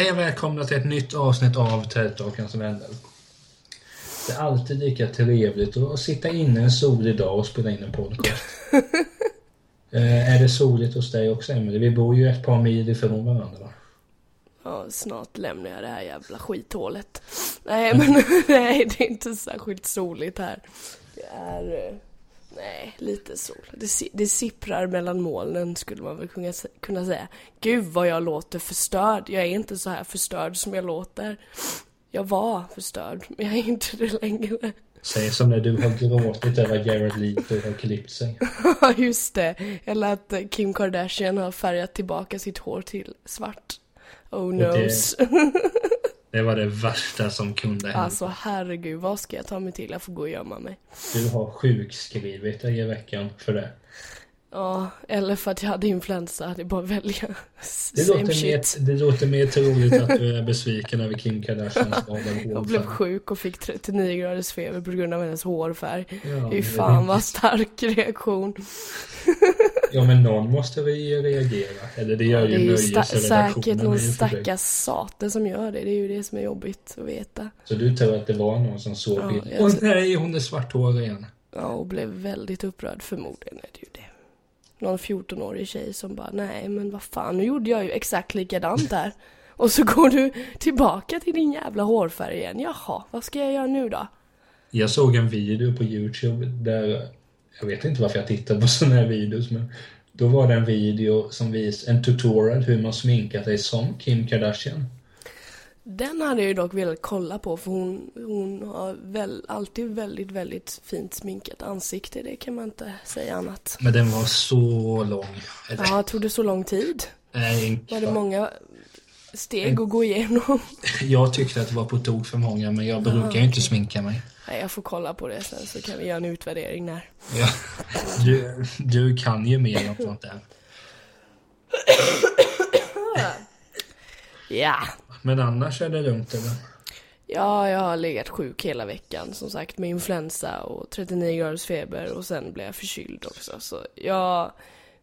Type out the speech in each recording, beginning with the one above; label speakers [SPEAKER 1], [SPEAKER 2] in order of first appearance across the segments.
[SPEAKER 1] Hej och välkomna till ett nytt avsnitt av Tältdrakens vänner. Det är alltid lika trevligt att sitta inne en solig dag och spela in en podcast. eh, är det soligt hos dig också Emelie? Vi bor ju ett par mil ifrån varandra.
[SPEAKER 2] Ja, snart lämnar jag det här jävla skithålet. Nej, men nej, det är inte särskilt soligt här. Det är... eh, Nej, lite sol. Det, si- det sipprar mellan molnen skulle man väl kunna, sä- kunna säga. Gud vad jag låter förstörd. Jag är inte så här förstörd som jag låter. Jag var förstörd, men jag är inte det längre.
[SPEAKER 1] Säg som när du har gråtit över att Jared Leto har klippt sig.
[SPEAKER 2] Ja, just det. Eller att eh, Kim Kardashian har färgat tillbaka sitt hår till svart. Oh
[SPEAKER 1] det-
[SPEAKER 2] noes.
[SPEAKER 1] Det var det värsta som kunde hända.
[SPEAKER 2] Alltså herregud, vad ska jag ta mig till? Jag får gå och gömma mig.
[SPEAKER 1] Du har sjukskrivit dig i veckan för det.
[SPEAKER 2] Ja, eller för att jag hade influensa. Det är bara att välja.
[SPEAKER 1] Det
[SPEAKER 2] Same
[SPEAKER 1] låter,
[SPEAKER 2] shit.
[SPEAKER 1] mer, det låter mer troligt att du är besviken över Kim Kardashians val av
[SPEAKER 2] Jag blev sjuk och fick 39 graders feber på grund av hennes hårfärg.
[SPEAKER 1] Ja,
[SPEAKER 2] Fy
[SPEAKER 1] men-
[SPEAKER 2] fan vad stark reaktion.
[SPEAKER 1] Ja men någon måste ju reagera. Eller det
[SPEAKER 2] Det
[SPEAKER 1] gör
[SPEAKER 2] är
[SPEAKER 1] ju
[SPEAKER 2] ju sta-
[SPEAKER 1] nöjesredaktionen.
[SPEAKER 2] säkert
[SPEAKER 1] är
[SPEAKER 2] någon
[SPEAKER 1] ju för dig.
[SPEAKER 2] stackars sate som gör det. Det är ju det som är jobbigt att veta.
[SPEAKER 1] Så du tror att det var någon som såg
[SPEAKER 2] Ja,
[SPEAKER 1] bilden?
[SPEAKER 2] jag
[SPEAKER 1] Åh
[SPEAKER 2] tror-
[SPEAKER 1] nej, hon är svarthårig igen.
[SPEAKER 2] Ja, och blev väldigt upprörd. Förmodligen är det ju det. Någon 14-årig tjej som bara, nej men vad fan, nu gjorde jag ju exakt likadant här. Och så går du tillbaka till din jävla hårfärg igen. Jaha, vad ska jag göra nu då?
[SPEAKER 1] Jag såg en video på Youtube där... Jag vet inte varför jag tittar på sådana här videos men... Då var det en video som vis en tutorial hur man sminkar sig som Kim Kardashian.
[SPEAKER 2] Den hade jag ju dock velat kolla på för hon, hon har väl, alltid väldigt, väldigt fint sminkat ansikte. Det kan man inte säga annat.
[SPEAKER 1] Men den var så lång. Eller,
[SPEAKER 2] Ja, tog det så lång tid?
[SPEAKER 1] nej, en
[SPEAKER 2] Var det
[SPEAKER 1] kvart.
[SPEAKER 2] många steg att gå igenom?
[SPEAKER 1] Jag tyckte att det var på tok för många men jag brukar ju inte sminka mig.
[SPEAKER 2] Nej, jag får kolla på det sen så kan vi göra en utvärdering där.
[SPEAKER 1] Ja, du, du kan ju mer om sånt där.
[SPEAKER 2] Ja!
[SPEAKER 1] Men annars är det lugnt eller?
[SPEAKER 2] Ja, jag har legat sjuk hela veckan som sagt med influensa och 39 graders feber och sen blev jag förkyld också. Så jag,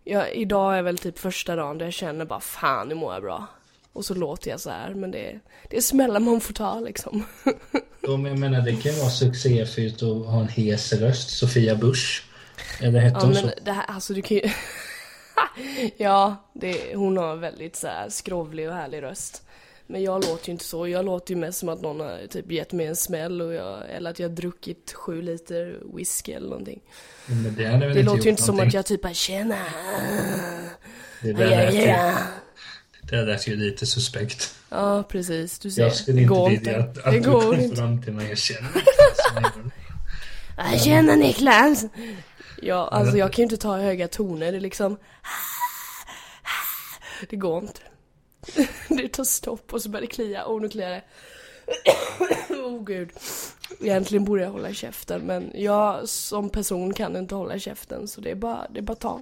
[SPEAKER 2] jag, idag är väl typ första dagen där jag känner bara fan nu mår jag bra. Och så låter jag så här men det, det är smällar man får ta liksom.
[SPEAKER 1] De, jag menar, det kan vara succéfyllt att ha en hes röst. Sofia Busch. Eller hette
[SPEAKER 2] Ja
[SPEAKER 1] hon så?
[SPEAKER 2] men det här, alltså du kan ju... ja, det, hon har en väldigt så här skrovlig och härlig röst. Men jag låter ju inte så, jag låter ju mest som att någon har typ gett mig en smäll och jag, eller att jag har druckit sju liter whisky eller någonting.
[SPEAKER 1] Men det hade väl
[SPEAKER 2] Det
[SPEAKER 1] inte
[SPEAKER 2] låter
[SPEAKER 1] gjort
[SPEAKER 2] ju inte som
[SPEAKER 1] någonting.
[SPEAKER 2] att jag typ bara tjena.
[SPEAKER 1] Det där
[SPEAKER 2] Ja,
[SPEAKER 1] lät ju-
[SPEAKER 2] ja.
[SPEAKER 1] Det där lät ju lite suspekt.
[SPEAKER 2] ja precis, du ser.
[SPEAKER 1] Jag skulle
[SPEAKER 2] det
[SPEAKER 1] inte
[SPEAKER 2] går
[SPEAKER 1] vilja att, att
[SPEAKER 2] det
[SPEAKER 1] du
[SPEAKER 2] går
[SPEAKER 1] kom
[SPEAKER 2] inte.
[SPEAKER 1] fram till mig och kände
[SPEAKER 2] Ah, tjena Niklas! Ja, alltså jag kan ju inte ta höga toner, det är liksom Det går inte. Det tar stopp och så börjar det klia, och nu kliar det. Åh oh, gud. Egentligen borde jag hålla käften men jag som person kan inte hålla käften så det är bara, det är bara ta.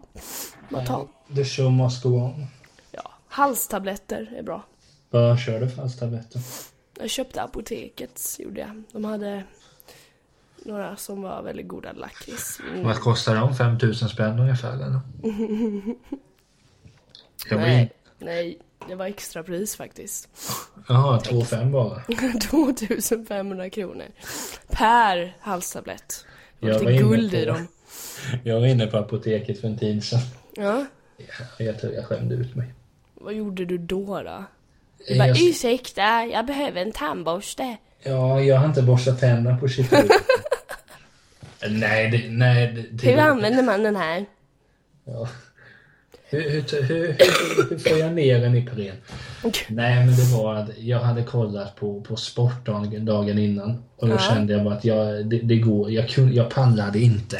[SPEAKER 2] Bara ta.
[SPEAKER 1] The show must go on.
[SPEAKER 2] Ja. Halstabletter är bra.
[SPEAKER 1] Vad kör du för halstabletter?
[SPEAKER 2] Jag köpte apoteket, gjorde jag. De hade några som var väldigt goda lakrits. Mm.
[SPEAKER 1] Vad kostar de? 5000 spänn ungefär eller? Jag var in...
[SPEAKER 2] Nej, nej, det var extrapris faktiskt.
[SPEAKER 1] Jaha, 2,5 bara.
[SPEAKER 2] 2500 kronor. Per halstablett. Det var
[SPEAKER 1] Jag var
[SPEAKER 2] lite
[SPEAKER 1] inne
[SPEAKER 2] guld i
[SPEAKER 1] på-
[SPEAKER 2] dem.
[SPEAKER 1] Jag var inne på apoteket för en tid sedan.
[SPEAKER 2] Ja.
[SPEAKER 1] Jag tror jag skämde ut mig.
[SPEAKER 2] Vad gjorde du då då? Du bara,
[SPEAKER 1] Jag,
[SPEAKER 2] ursäkta, jag behöver en tandborste.
[SPEAKER 1] ja, jag har inte borstat tänderna på 20 år. Nej, det, nej. Det, det,
[SPEAKER 2] Hur använder man den här?
[SPEAKER 1] Ja. Hur, hur, hur, hur, hur får jag ner den i plen? Nej, men det var att jag hade kollat på, på sport dagen, dagen innan och då
[SPEAKER 2] Ja.
[SPEAKER 1] kände jag bara att jag, det, det går, jag, kunde, jag pallade inte.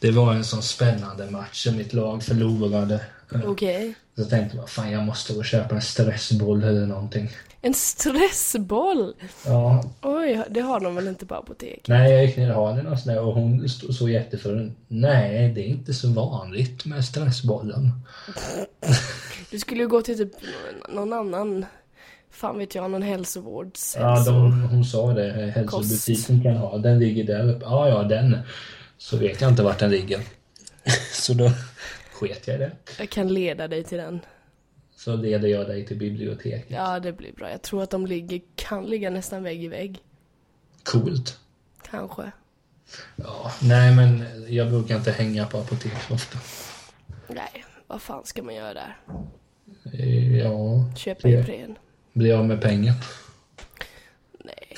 [SPEAKER 1] Det var en sån spännande match och mitt lag förlorade.
[SPEAKER 2] Okej.
[SPEAKER 1] Så tänkte jag, fan jag måste gå och köpa en stressboll eller någonting.
[SPEAKER 2] En stressboll!
[SPEAKER 1] Ja,
[SPEAKER 2] Oj, det har de väl inte på apotek?
[SPEAKER 1] nej jag gick ner och hade den och, sådär, och hon stod så jättefull. Nej, det är inte så vanligt med stressbollen.
[SPEAKER 2] Du skulle ju gå till typ någon annan, fan vet jag, någon hälsovårds...
[SPEAKER 1] Ja, de, hon sa det. eh, Hälsobutiken kan ha. Den ligger där uppe. Ja, ja, den. Så vet jag inte vart den ligger. Så då sket jag i det.
[SPEAKER 2] Jag kan leda dig till den.
[SPEAKER 1] Så leder jag dig till biblioteket.
[SPEAKER 2] Ja, det blir bra. Jag tror att de ligger, kan ligga nästan vägg i vägg.
[SPEAKER 1] Coolt.
[SPEAKER 2] Kanske.
[SPEAKER 1] Ja, nej men jag brukar inte hänga på apotek så ofta.
[SPEAKER 2] Nej, vad fan ska man göra där?
[SPEAKER 1] Eh, Ja,
[SPEAKER 2] Köpa
[SPEAKER 1] Ja.
[SPEAKER 2] Ipren?
[SPEAKER 1] bli av med pengar.
[SPEAKER 2] Nej.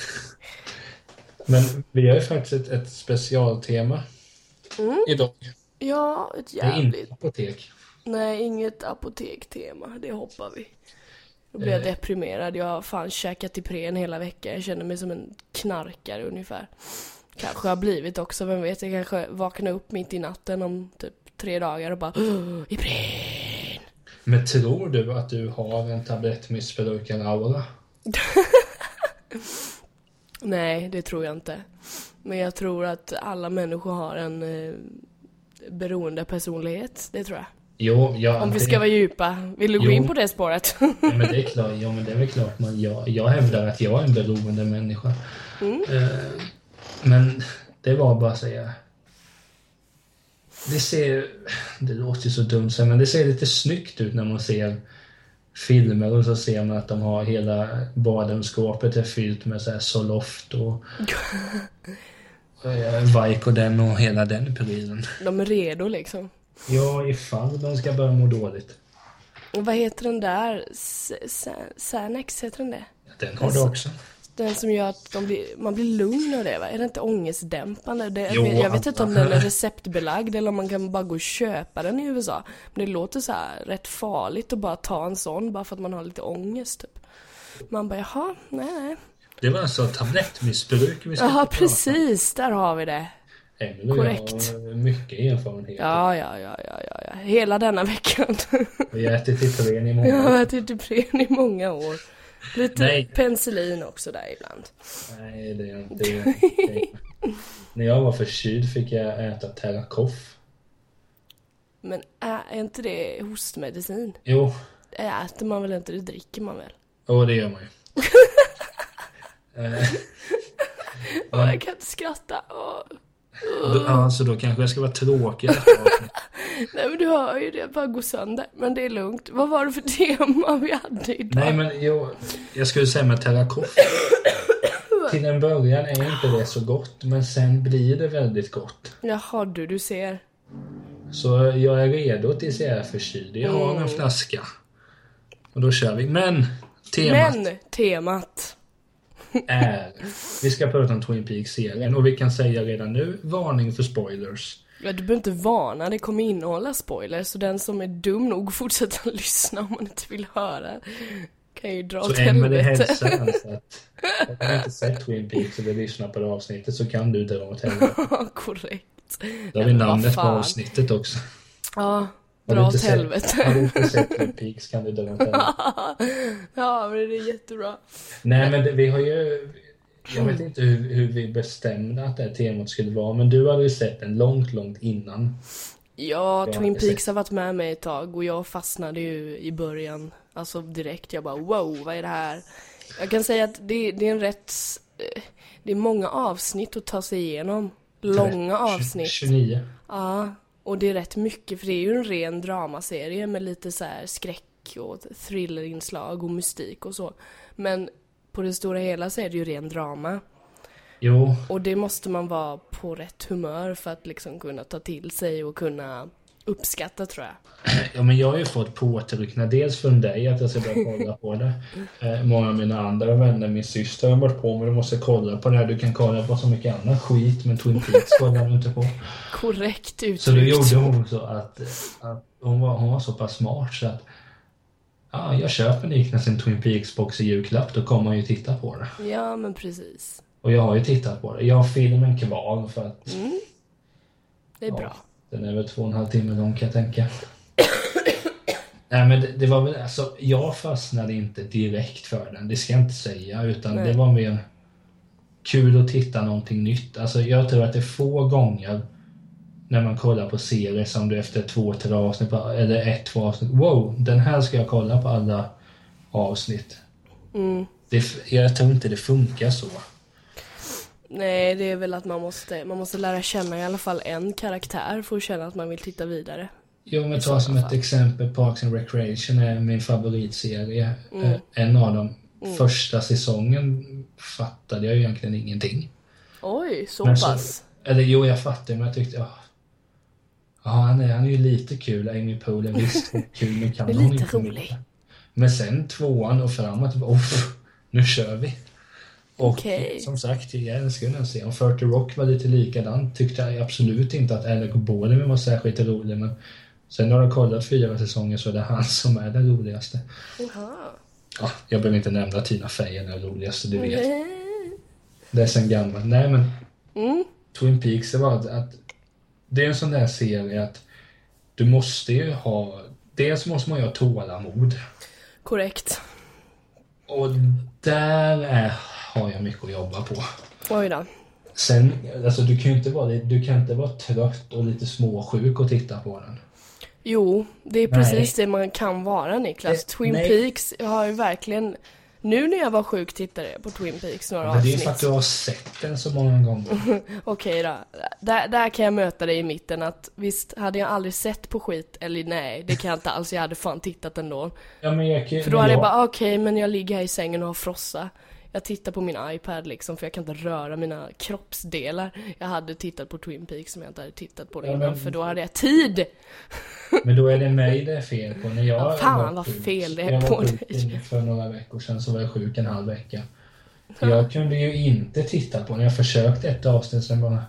[SPEAKER 1] Men vi har ju faktiskt ett, ett specialtema
[SPEAKER 2] Mm.
[SPEAKER 1] idag.
[SPEAKER 2] Ja, ett
[SPEAKER 1] Det är
[SPEAKER 2] jävligt...
[SPEAKER 1] inte apotek.
[SPEAKER 2] Nej, inget apotektema. Det hoppar vi. Då blir jag
[SPEAKER 1] Eh.
[SPEAKER 2] deprimerad. Jag har fan käkat Ipren hela veckan. Jag känner mig som en knarkare ungefär. Kanske har blivit också, vem vet? Jag kanske vaknar upp mitt i natten om typ tre dagar och bara "Åh, Ipren!
[SPEAKER 1] Men tror du att du har en tablettmissbrukar-aura?
[SPEAKER 2] Nej, det tror jag inte. Men jag tror att alla människor har en eh, beroende personlighet. Det tror jag.
[SPEAKER 1] Jo, ja,
[SPEAKER 2] Om vi
[SPEAKER 1] det-
[SPEAKER 2] ska vara djupa. Vill du gå
[SPEAKER 1] Jo.
[SPEAKER 2] in på det spåret?
[SPEAKER 1] Ja, men det är klart, ja, men det är väl klart man, jag, jag hävdar att jag är en beroende människa. Eh, men det var bara att säga. Det ser, det låter ju så dumt så här, men det ser lite snyggt ut när man ser filmer och så ser man att de har hela badrumsskåpet är fyllt med så här Zoloft och eh, Vicodin och hela den prylen.
[SPEAKER 2] De är redo liksom.
[SPEAKER 1] Ja, ifall de ska börja må dåligt.
[SPEAKER 2] Och vad heter den där? S- Sa- Xanax, heter den det?
[SPEAKER 1] Den har du också.
[SPEAKER 2] Den som gör att de blir, man blir lugn av det va? Är det inte ångestdämpande? Det,
[SPEAKER 1] Jo,
[SPEAKER 2] jag vet inte om
[SPEAKER 1] Anna.
[SPEAKER 2] den är receptbelagd eller om man kan bara gå och köpa den i USA. Men det låter så här rätt farligt att bara ta en sån bara för att man har lite ångest typ. Man bara jaha, nej nej.
[SPEAKER 1] Det var alltså tablettmissbruk vi skulle
[SPEAKER 2] Jaha
[SPEAKER 1] prata om.
[SPEAKER 2] precis, där har vi det.
[SPEAKER 1] Emelie och
[SPEAKER 2] Korrekt.
[SPEAKER 1] jag har mycket erfarenhet.
[SPEAKER 2] Ja, ja, ja, ja, ja, ja. Hela denna veckan.
[SPEAKER 1] Vi har ätit Ipren i
[SPEAKER 2] Jag
[SPEAKER 1] månader.
[SPEAKER 2] har ätit Ipren i många år. Lite
[SPEAKER 1] Nej.
[SPEAKER 2] penicillin också där ibland.
[SPEAKER 1] Nej, det är inte... det är inte- När jag var förkyld fick jag äta Terracoff.
[SPEAKER 2] Men ä- är inte det hostmedicin? Äh,
[SPEAKER 1] Jo,
[SPEAKER 2] Äter man väl inte, det dricker man väl?
[SPEAKER 1] och det gör man ju. Eh,
[SPEAKER 2] Åh,
[SPEAKER 1] Ja.
[SPEAKER 2] jag kan inte skratta. Åh.
[SPEAKER 1] då- ja, så då kanske jag ska vara tråkig. i det här avsnittet.
[SPEAKER 2] Nej men du hör ju det, jag bara går sönder. Men det är lugnt. Vad var det för tema vi hade idag?
[SPEAKER 1] Nej, men jo, jag skulle säga med Terracoff. Till en början är inte det så gott, men sen blir det väldigt gott.
[SPEAKER 2] Jaha du, du ser.
[SPEAKER 1] Så jag är redo tills jag är förkyld. Jag har
[SPEAKER 2] Mm.
[SPEAKER 1] en flaska. Och då kör vi. Men! Temat.
[SPEAKER 2] Men temat.
[SPEAKER 1] är. Vi ska prata om Twin Peaks-serien och vi kan säga redan nu, varning för spoilers.
[SPEAKER 2] Ja, du behöver inte varna, det kommer innehålla spoilers. Så den som är dum nog fortsätter att lyssna om man inte vill höra. Kan ju dra åt
[SPEAKER 1] Så Emelie
[SPEAKER 2] helvete.
[SPEAKER 1] hälsar alltså att om du inte sett Twin Peaks eller lyssnar på det avsnittet så kan du dra åt helvete.
[SPEAKER 2] Ja, Korrekt.
[SPEAKER 1] Då har vi
[SPEAKER 2] Men vad
[SPEAKER 1] namnet på
[SPEAKER 2] fan.
[SPEAKER 1] avsnittet också.
[SPEAKER 2] Ja,
[SPEAKER 1] Har du
[SPEAKER 2] dra
[SPEAKER 1] inte
[SPEAKER 2] åt
[SPEAKER 1] sett-
[SPEAKER 2] helvete.
[SPEAKER 1] Har du inte sett Twin Peaks kan du dra åt helvete.
[SPEAKER 2] Ja, men det är jättebra.
[SPEAKER 1] Nej men det, vi har ju... Jag
[SPEAKER 2] Mm.
[SPEAKER 1] vet inte hur, hur vi bestämde att det här temat skulle vara men du hade ju sett den långt, långt innan.
[SPEAKER 2] Ja,
[SPEAKER 1] Ja,
[SPEAKER 2] Twin
[SPEAKER 1] precis.
[SPEAKER 2] Peaks har varit med mig ett tag och jag fastnade ju i början. Alltså direkt, jag bara wow, vad är det här? Jag kan säga att det, det är en rätt... eh, Det är många avsnitt att ta sig igenom. Långa avsnitt.
[SPEAKER 1] 29.
[SPEAKER 2] Ja, och det är rätt mycket för det är ju en ren dramaserie med lite så här skräck och thrillerinslag och mystik och så. Men på det stora hela så är det ju ren drama.
[SPEAKER 1] Jo,
[SPEAKER 2] Och det måste man vara på rätt humör för att liksom kunna ta till sig och kunna uppskatta tror jag.
[SPEAKER 1] Ja, men jag har ju fått påtryckningar, dels från dig att jag ska börja kolla på det. Eh, många av mina andra vänner, min syster har varit på mig, du måste kolla på det här. Du kan kolla på så mycket annat skit, men Twin Peaks kollar du inte på.
[SPEAKER 2] Korrekt
[SPEAKER 1] Så då
[SPEAKER 2] uttryckt.
[SPEAKER 1] gjorde hon så att, att hon, var, hon var så pass smart så att ja, jag köper liknelsen Twin Peaks-box i julklapp, då kommer man ju titta på det.
[SPEAKER 2] Ja men precis.
[SPEAKER 1] Och jag har ju tittat på det. Jag har filmen kvar för att
[SPEAKER 2] Mm. Det är
[SPEAKER 1] Ja.
[SPEAKER 2] bra.
[SPEAKER 1] Den är väl två och en halv timme lång kan jag tänka. Nej men det, det var väl alltså, jag fastnade inte direkt för den, det ska jag inte säga, utan
[SPEAKER 2] Nej.
[SPEAKER 1] det var mer kul att titta någonting nytt. Alltså jag tror att det är få gånger när man kollar på serier som du efter två, tre avsnitt, bara, eller ett, två avsnitt, wow, den här ska jag kolla på alla avsnitt.
[SPEAKER 2] Mm.
[SPEAKER 1] Det, jag tror inte det funkar så.
[SPEAKER 2] Nej det är väl att man måste, man måste lära känna i alla fall en karaktär för att känna att man vill titta vidare.
[SPEAKER 1] Jo, men
[SPEAKER 2] I
[SPEAKER 1] ta
[SPEAKER 2] sådana
[SPEAKER 1] som ett
[SPEAKER 2] fall.
[SPEAKER 1] exempel Parks and Recreation är min favoritserie.
[SPEAKER 2] Mm.
[SPEAKER 1] Eh, En av dem.
[SPEAKER 2] Mm.
[SPEAKER 1] Första säsongen fattade jag ju egentligen ingenting.
[SPEAKER 2] Oj, så
[SPEAKER 1] Men så-
[SPEAKER 2] pass.
[SPEAKER 1] Eller jo, jag fattade men jag tyckte... Ja, ja han, är, han är ju lite kul, Amy Poehler. Visst, hon är kul, men kan
[SPEAKER 2] Men
[SPEAKER 1] hon
[SPEAKER 2] lite
[SPEAKER 1] inte mer.
[SPEAKER 2] rolig.
[SPEAKER 1] Men sen tvåan och framåt, bara, "Uff, nu kör vi. Och
[SPEAKER 2] Okej.
[SPEAKER 1] som sagt, jag älskar den serien. 40 Rock var lite likadan. Tyckte jag absolut inte att Alec Baldwin var särskilt rolig, men sen när jag kollat fyra säsonger så är det han som är den roligaste.
[SPEAKER 2] Jaha.
[SPEAKER 1] Ja, jag behöver inte nämna Tina Fey är den roligaste, du vet.
[SPEAKER 2] Nej.
[SPEAKER 1] Det är sen gammalt. Nej, men
[SPEAKER 2] Mm.
[SPEAKER 1] Twin Peaks, det var att- att det är en sån där serie att du måste ju ha, dels måste man ju ha tålamod.
[SPEAKER 2] Korrekt.
[SPEAKER 1] Och där är, har jag mycket att jobba på.
[SPEAKER 2] Oj då.
[SPEAKER 1] Sen, alltså du kan ju inte vara, du kan inte vara trött och lite småsjuk och titta på den.
[SPEAKER 2] Jo, det är precis det man kan vara Niklas.
[SPEAKER 1] Det-
[SPEAKER 2] Twin
[SPEAKER 1] nej.
[SPEAKER 2] Peaks har ju verkligen... Nu när jag var sjuk tittade jag på Twin Peaks några
[SPEAKER 1] Men det är ju
[SPEAKER 2] avsnitt.
[SPEAKER 1] för att du har sett den så många gånger.
[SPEAKER 2] Okej då. Där, där kan jag möta dig i mitten att visst, hade jag aldrig sett på skit, eller nej, det kan jag inte alls, jag hade fan tittat ändå.
[SPEAKER 1] Ja, men jag, kan-
[SPEAKER 2] För då hade jag
[SPEAKER 1] men
[SPEAKER 2] bara, okej, men jag ligger här i sängen och har frossa. Jag tittar på min iPad liksom, för jag kan inte röra mina kroppsdelar. Jag hade tittat på Twin Peaks som jag inte hade tittat på det
[SPEAKER 1] Ja,
[SPEAKER 2] innan,
[SPEAKER 1] men-
[SPEAKER 2] för då hade jag tid!
[SPEAKER 1] Men då är det mig det är fel på. När jag
[SPEAKER 2] Ja, fan,
[SPEAKER 1] var
[SPEAKER 2] vad
[SPEAKER 1] sjuk.
[SPEAKER 2] fel det är
[SPEAKER 1] jag
[SPEAKER 2] på
[SPEAKER 1] var sjuk
[SPEAKER 2] dig.
[SPEAKER 1] För några veckor sedan så var jag sjuk en halv vecka. Jag kunde ju inte titta på den. Jag försökte ett avsnitt sen bara...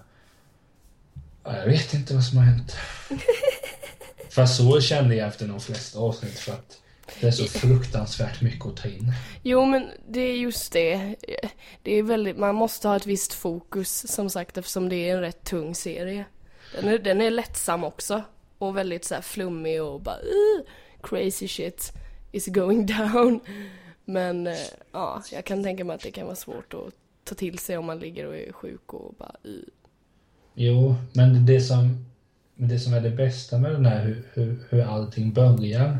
[SPEAKER 1] "Ja, Jag vet inte vad som har hänt. Fast så kände jag efter de flesta avsnitt för att det är så fruktansvärt mycket att ta in.
[SPEAKER 2] Jo men det är just det. Det är väldigt, man måste ha ett visst fokus som sagt eftersom det är en rätt tung serie. Den är, den är lättsam också. Och väldigt så här flummig och bara "Ih, crazy shit is going down. Men eh, ja, jag kan tänka mig att det kan vara svårt att ta till sig om man ligger och är sjuk och bara "Ih."
[SPEAKER 1] Jo, men det som, men det som är det bästa med den här hur, hur, hur allting börjar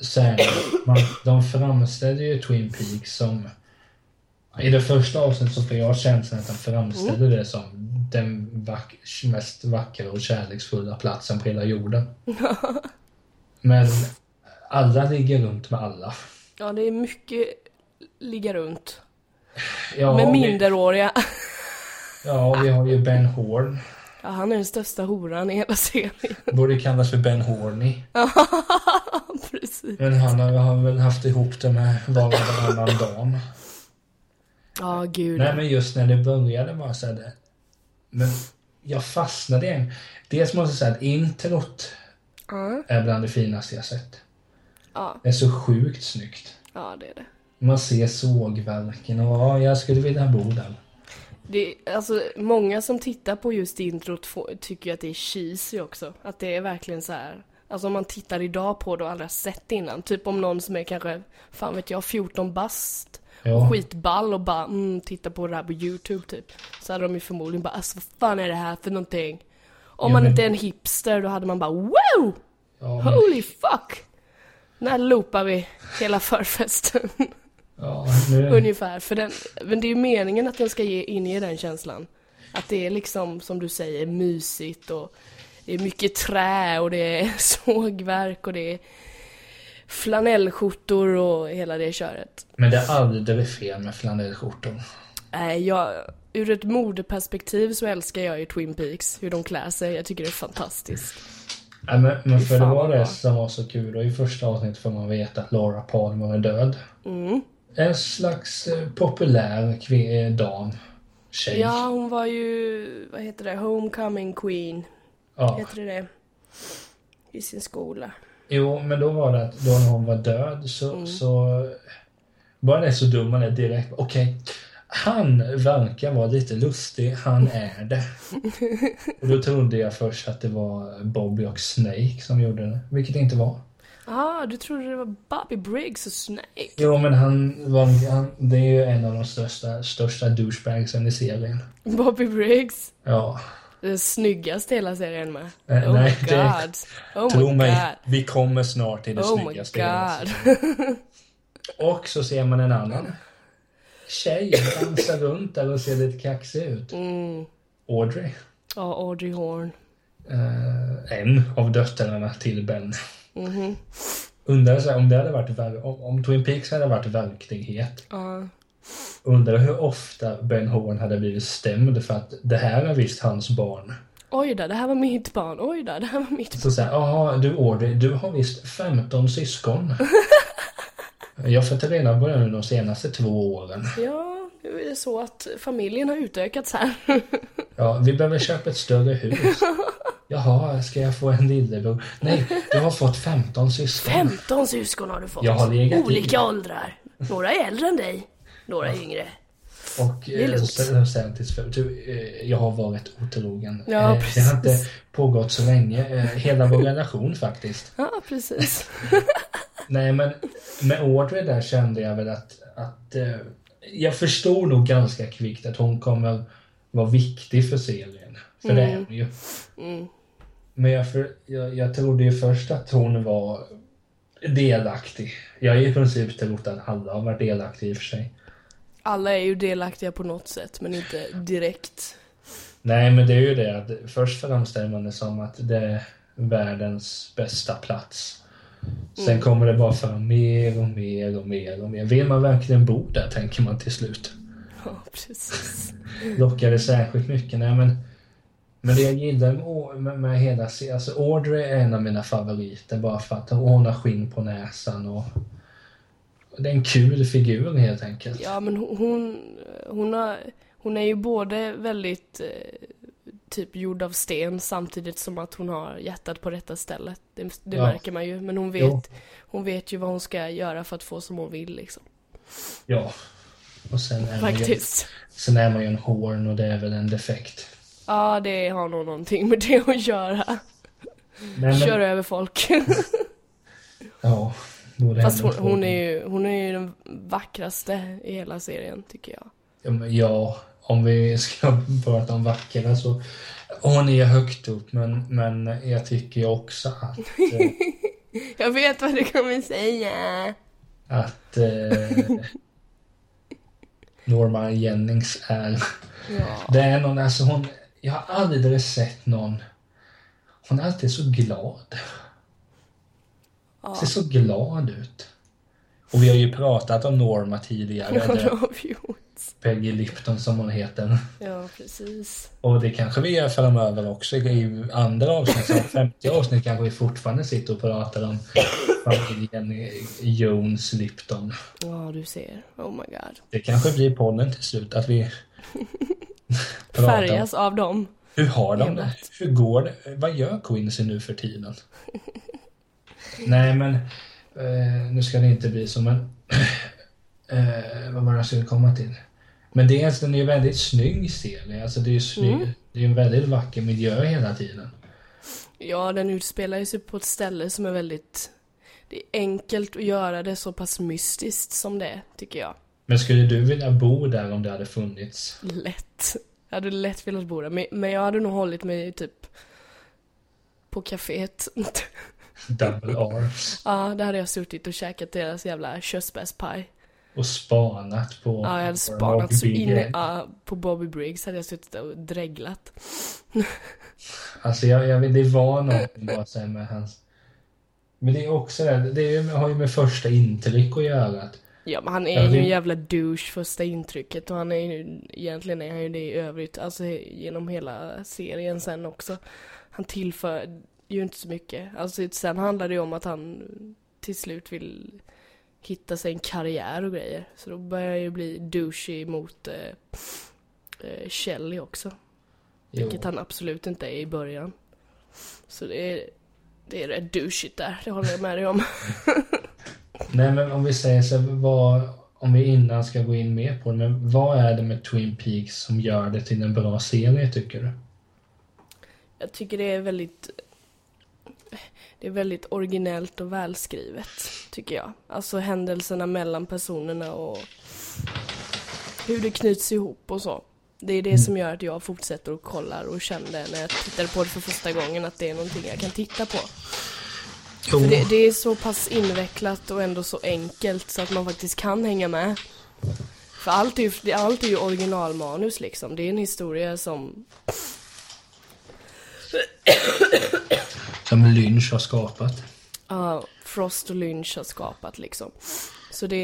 [SPEAKER 1] så är det- man, de framställer ju Twin Peaks som i det första avsnittet så får jag känslan att de framställer det som den vack, mest vackra och kärleksfulla platsen på hela jorden. Men alla ligger runt med alla.
[SPEAKER 2] Ja, det är mycket ligga runt.
[SPEAKER 1] Ja,
[SPEAKER 2] Med
[SPEAKER 1] vi,
[SPEAKER 2] minderåriga.
[SPEAKER 1] ja, vi har ju Ben Horn.
[SPEAKER 2] Ja, han är den största horan i hela serien.
[SPEAKER 1] Borde kallas för Ben Horny.
[SPEAKER 2] Precis.
[SPEAKER 1] Men han har, har väl haft ihop det med var och varannan dam.
[SPEAKER 2] Ja, gud.
[SPEAKER 1] Nej men just när det började var så här det. Men jag fastnade igen. Dels måste jag säga att introt
[SPEAKER 2] Ja,
[SPEAKER 1] är bland det finaste jag sett.
[SPEAKER 2] ja,
[SPEAKER 1] Det är så sjukt snyggt.
[SPEAKER 2] ja, det är det.
[SPEAKER 1] Man ser sågverken och ja, jag skulle vilja bo där.
[SPEAKER 2] Det, alltså, många som tittar på just introt får, tycker ju att det är cheesy också. Att det är verkligen så här. Alltså om man tittar idag på det och aldrig har sett innan. Typ om någon som är kanske, fan vet jag, 14 bast.
[SPEAKER 1] Ja.
[SPEAKER 2] Skitball och bara, mm, tittar på det här på YouTube typ. Så hade de ju förmodligen bara, alltså vad fan är det här för någonting? Om
[SPEAKER 1] Ja,
[SPEAKER 2] man
[SPEAKER 1] men-
[SPEAKER 2] inte är en hipster då hade man bara, wow!
[SPEAKER 1] Ja, men,
[SPEAKER 2] Holy fuck! När loopar vi hela förfesten?
[SPEAKER 1] ja, nu,
[SPEAKER 2] Ungefär, för den, men det är ju meningen att den ska ge, inge den känslan. Att det är liksom, som du säger, mysigt och det är mycket trä och det är sågverk och det är flanellskjortor och hela det köret.
[SPEAKER 1] men det är aldrig fel med flanellskjortor.
[SPEAKER 2] Äh, jag, ur ett modeperspektiv så älskar jag ju Twin Peaks, hur de klär sig. Jag tycker det är fantastiskt.
[SPEAKER 1] Nej, men, men för det
[SPEAKER 2] fan
[SPEAKER 1] var
[SPEAKER 2] vad bra.
[SPEAKER 1] det som var så kul och i första avsnittet får man veta att Laura Palmer är död.
[SPEAKER 2] Mm.
[SPEAKER 1] En slags eh, populär kvi- eh, dam. Tjej.
[SPEAKER 2] Ja, hon var ju, vad heter det, Homecoming Queen,
[SPEAKER 1] Ja.
[SPEAKER 2] heter det det? I sin skola.
[SPEAKER 1] Jo, men då var det att då när hon var död så...
[SPEAKER 2] Mm.
[SPEAKER 1] så bara det så dum man är direkt. Okej. Han verkar vara lite lustig. Han är det. Och då trodde jag först att det var Bobby och Snake som gjorde det. Vilket det inte var.
[SPEAKER 2] Ah, du trodde det var Bobby Briggs och Snake?
[SPEAKER 1] Jo, men han, var, han det är ju en av de största, största douchebagsen i serien.
[SPEAKER 2] Bobby Briggs?
[SPEAKER 1] Ja.
[SPEAKER 2] Den snyggaste i hela serien med.
[SPEAKER 1] Eh,
[SPEAKER 2] oh
[SPEAKER 1] nej,
[SPEAKER 2] my
[SPEAKER 1] det-
[SPEAKER 2] god. Oh
[SPEAKER 1] Tro
[SPEAKER 2] my
[SPEAKER 1] mig,
[SPEAKER 2] god.
[SPEAKER 1] vi kommer snart till det
[SPEAKER 2] Oh my
[SPEAKER 1] snyggaste. i hela alltså.
[SPEAKER 2] god.
[SPEAKER 1] Och så ser man en annan tjej dansa runt där och ser lite kaxig ut.
[SPEAKER 2] Mm.
[SPEAKER 1] Audrey.
[SPEAKER 2] Ja, Audrey Horn.
[SPEAKER 1] eh, en av döttrarna till Ben.
[SPEAKER 2] Mm-hmm.
[SPEAKER 1] Undrar så här, om det hade varit verk- om, om Twin Peaks hade varit verklighet.
[SPEAKER 2] Ja.
[SPEAKER 1] Undrar hur ofta Ben Horn hade blivit stämd för att det här är visst hans barn.
[SPEAKER 2] Oj då, det här var mitt barn. Oj då, det här var mitt barn.
[SPEAKER 1] Så såhär, jaha du Audrey, du har visst 15 syskon. Jag har fått reda på det nu de senaste två åren.
[SPEAKER 2] Ja, nu är det så att familjen har utökats här.
[SPEAKER 1] Ja, vi behöver köpa ett större hus. Jaha, ska jag få en lillebror? Nej, du har fått 15 syskon.
[SPEAKER 2] 15 syskon har du fått.
[SPEAKER 1] Jag har legat i.
[SPEAKER 2] Olika åldrar. Några är äldre än dig, några är yngre.
[SPEAKER 1] Och
[SPEAKER 2] är
[SPEAKER 1] eh,
[SPEAKER 2] lugnt.
[SPEAKER 1] sen sen tills för, du, eh, jag har varit otrogen.
[SPEAKER 2] Ja,
[SPEAKER 1] Eh, det
[SPEAKER 2] precis.
[SPEAKER 1] har inte pågått så länge, eh, hela vår relation faktiskt.
[SPEAKER 2] Ja, precis.
[SPEAKER 1] Nej, men med Audrey där kände jag väl att, att eh, jag förstod nog ganska kvickt att hon kommer vara viktig för serien. För det är hon ju.
[SPEAKER 2] Mm.
[SPEAKER 1] Men jag, för, jag, jag trodde ju först att hon var delaktig. Jag har i princip trott att alla har varit delaktiga i och för sig.
[SPEAKER 2] Alla är ju delaktiga på något sätt, men inte direkt.
[SPEAKER 1] Nej, men det är ju det att först framställer man det som att det är världens bästa plats. Sen kommer det bara fram mer och mer och mer och mer. Vill man verkligen bo där, tänker man till slut.
[SPEAKER 2] Ja, precis.
[SPEAKER 1] lockade särskilt mycket. Nej, men, men det jag gillar med, Au- med, med hela serien, alltså Audrey är en av mina favoriter bara för att hon har skinn på näsan och det är en kul figur helt enkelt.
[SPEAKER 2] Ja, men hon, hon, hon, har, hon är ju både väldigt eh, typ gjord av sten samtidigt som att hon har hjärtat på rätta stället. Det, det
[SPEAKER 1] Ja.
[SPEAKER 2] märker man ju, men hon vet,
[SPEAKER 1] Jo.
[SPEAKER 2] hon vet ju vad hon ska göra för att få som hon vill liksom.
[SPEAKER 1] Ja. Och sen är, man ju,
[SPEAKER 2] Faktiskt.
[SPEAKER 1] sen är man ju en horn och det är väl en defekt.
[SPEAKER 2] Ja, det har nog någonting med det att göra.
[SPEAKER 1] Nej,
[SPEAKER 2] Kör
[SPEAKER 1] men,
[SPEAKER 2] över folk.
[SPEAKER 1] ja, då är det
[SPEAKER 2] Fast
[SPEAKER 1] ändå
[SPEAKER 2] hon,
[SPEAKER 1] en
[SPEAKER 2] hon,
[SPEAKER 1] horn.
[SPEAKER 2] är ju, hon är ju den vackraste i hela serien, tycker jag.
[SPEAKER 1] Ja, men Ja, om vi ska prata om vackra så... Hon är högt upp, men, men jag tycker ju också att... eh,
[SPEAKER 2] Jag vet vad du kommer säga.
[SPEAKER 1] att eh, Norma Jennings är...
[SPEAKER 2] Ja.
[SPEAKER 1] Det är någon, alltså hon... Jag har aldrig sett någon... Hon är alltid så glad.
[SPEAKER 2] Ja.
[SPEAKER 1] Ser så glad ut. Och vi har ju pratat om Norma tidigare,
[SPEAKER 2] Ja, det
[SPEAKER 1] eller
[SPEAKER 2] har vi gjort.
[SPEAKER 1] Peggy Lipton som hon heter.
[SPEAKER 2] Ja, precis.
[SPEAKER 1] Och det kanske vi gör framöver också i andra avsnitt, som 50 avsnitt kanske vi fortfarande sitter och pratar om familjen Jones Lipton.
[SPEAKER 2] Ja, du ser. Oh my god.
[SPEAKER 1] Det kanske blir podden till slut, att vi pratar om
[SPEAKER 2] Färgas av dem.
[SPEAKER 1] hur har de det?
[SPEAKER 2] enbart.
[SPEAKER 1] Hur går det? Vad gör Quincy nu för tiden? Nej, men eh, nu ska det inte bli så, men eh, vad var det jag skulle komma till? Men dels, den är ju väldigt snygg serie. Alltså det är ju snygg,
[SPEAKER 2] Mm.
[SPEAKER 1] det är ju en väldigt vacker miljö hela tiden.
[SPEAKER 2] Ja, den utspelar ju sig på ett ställe som är väldigt... Det är enkelt att göra det så pass mystiskt som det är, tycker jag.
[SPEAKER 1] Men skulle du vilja bo där om det hade funnits?
[SPEAKER 2] Lätt. Jag hade lätt velat bo där, men- men jag hade nog hållit mig typ på kaféet.
[SPEAKER 1] Double R
[SPEAKER 2] Ja, där hade jag suttit och käkat deras jävla körsbärspaj.
[SPEAKER 1] och spanat på...
[SPEAKER 2] Ja, jag hade
[SPEAKER 1] på
[SPEAKER 2] spanat så
[SPEAKER 1] Bobby
[SPEAKER 2] in
[SPEAKER 1] Bigger.
[SPEAKER 2] i, ja, på Bobby Briggs hade jag suttit och dreglat.
[SPEAKER 1] Alltså jag, jag vet, det var någonting bara så här med hans... Men det är också det, här, det är, ju- har ju med första intryck att göra. Att,
[SPEAKER 2] Ja, men han
[SPEAKER 1] Ja,
[SPEAKER 2] är ju
[SPEAKER 1] det-
[SPEAKER 2] en jävla douche första intrycket och han är ju, egentligen är han ju det i övrigt, alltså he- genom hela serien sen också. Han tillför ju inte så mycket. Alltså sen handlar det ju om att han till slut vill hitta sig en karriär och grejer. Så då börjar jag ju bli douchey mot eh, eh, Shelley också.
[SPEAKER 1] jo,
[SPEAKER 2] Vilket han absolut inte är i början. Så det är, det är rätt douchigt där, det håller jag med dig om.
[SPEAKER 1] nej men om vi säger så här, vad, om vi innan ska gå in mer på det, men vad är det med Twin Peaks som gör det till en bra serie tycker du?
[SPEAKER 2] Jag tycker det är väldigt det är väldigt originellt och välskrivet, tycker jag. Alltså händelserna mellan personerna och hur det knyts ihop och så. Det är det som gör att jag fortsätter och kollar och kände när jag tittade på det för första gången att det är någonting jag kan titta på.
[SPEAKER 1] Jo,
[SPEAKER 2] För det, det är så pass invecklat och ändå så enkelt så att man faktiskt kan hänga med. För allt är ju, det- allt är ju originalmanus liksom. Det är en historia som
[SPEAKER 1] Som Lynch har skapat.
[SPEAKER 2] Ja, Frost och Lynch har skapat liksom. Så det,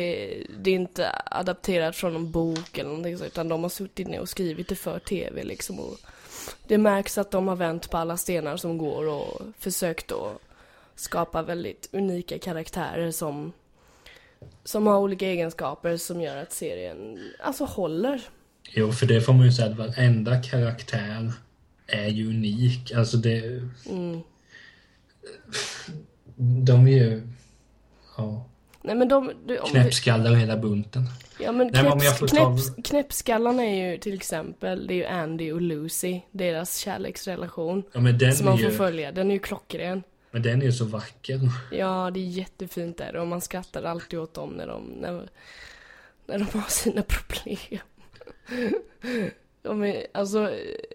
[SPEAKER 2] det är inte adapterat från någon bok eller någonting så, utan de har suttit ner och skrivit det för tv liksom. Och det märks att de har vänt på alla stenar som går och försökt att skapa väldigt unika karaktärer som, som har olika egenskaper som gör att serien, alltså håller.
[SPEAKER 1] Jo, för det får man ju säga att varenda karaktär är ju unik. Alltså det...
[SPEAKER 2] Mm.
[SPEAKER 1] De är ju... Ja,
[SPEAKER 2] Nej men de, du, om vi,
[SPEAKER 1] knäppskallar hela bunten.
[SPEAKER 2] Ja men,
[SPEAKER 1] Nej, men om
[SPEAKER 2] knäpps,
[SPEAKER 1] jag får ta-
[SPEAKER 2] knäpps, knäppskallarna är ju till exempel, det är ju Andy och Lucy, deras kärleksrelation.
[SPEAKER 1] Ja, men den
[SPEAKER 2] Som
[SPEAKER 1] är
[SPEAKER 2] man får
[SPEAKER 1] ju,
[SPEAKER 2] följa, den är ju klockren.
[SPEAKER 1] men den är ju så vacker.
[SPEAKER 2] Ja, det är jättefint där och man skrattar alltid åt dem när de, när, när de har sina problem. De är, alltså,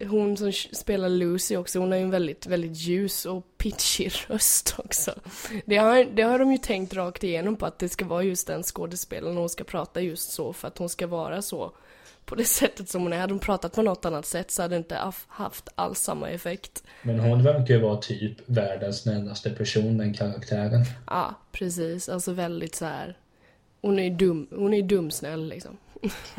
[SPEAKER 2] hon som spelar Lucy också, hon har ju en väldigt, väldigt ljus och pitchig röst också. Det har, det har de ju tänkt rakt igenom på att det ska vara just den skådespelaren och hon ska prata just så för att hon ska vara så på det sättet som hon är. Hade hon pratat på något annat sätt så hade det inte haf- haft alls samma effekt.
[SPEAKER 1] Men hon verkar ju vara typ världens snällaste person, den karaktären.
[SPEAKER 2] Ja, precis. Alltså väldigt så här. Hon är ju dum, hon är ju dumsnäll liksom.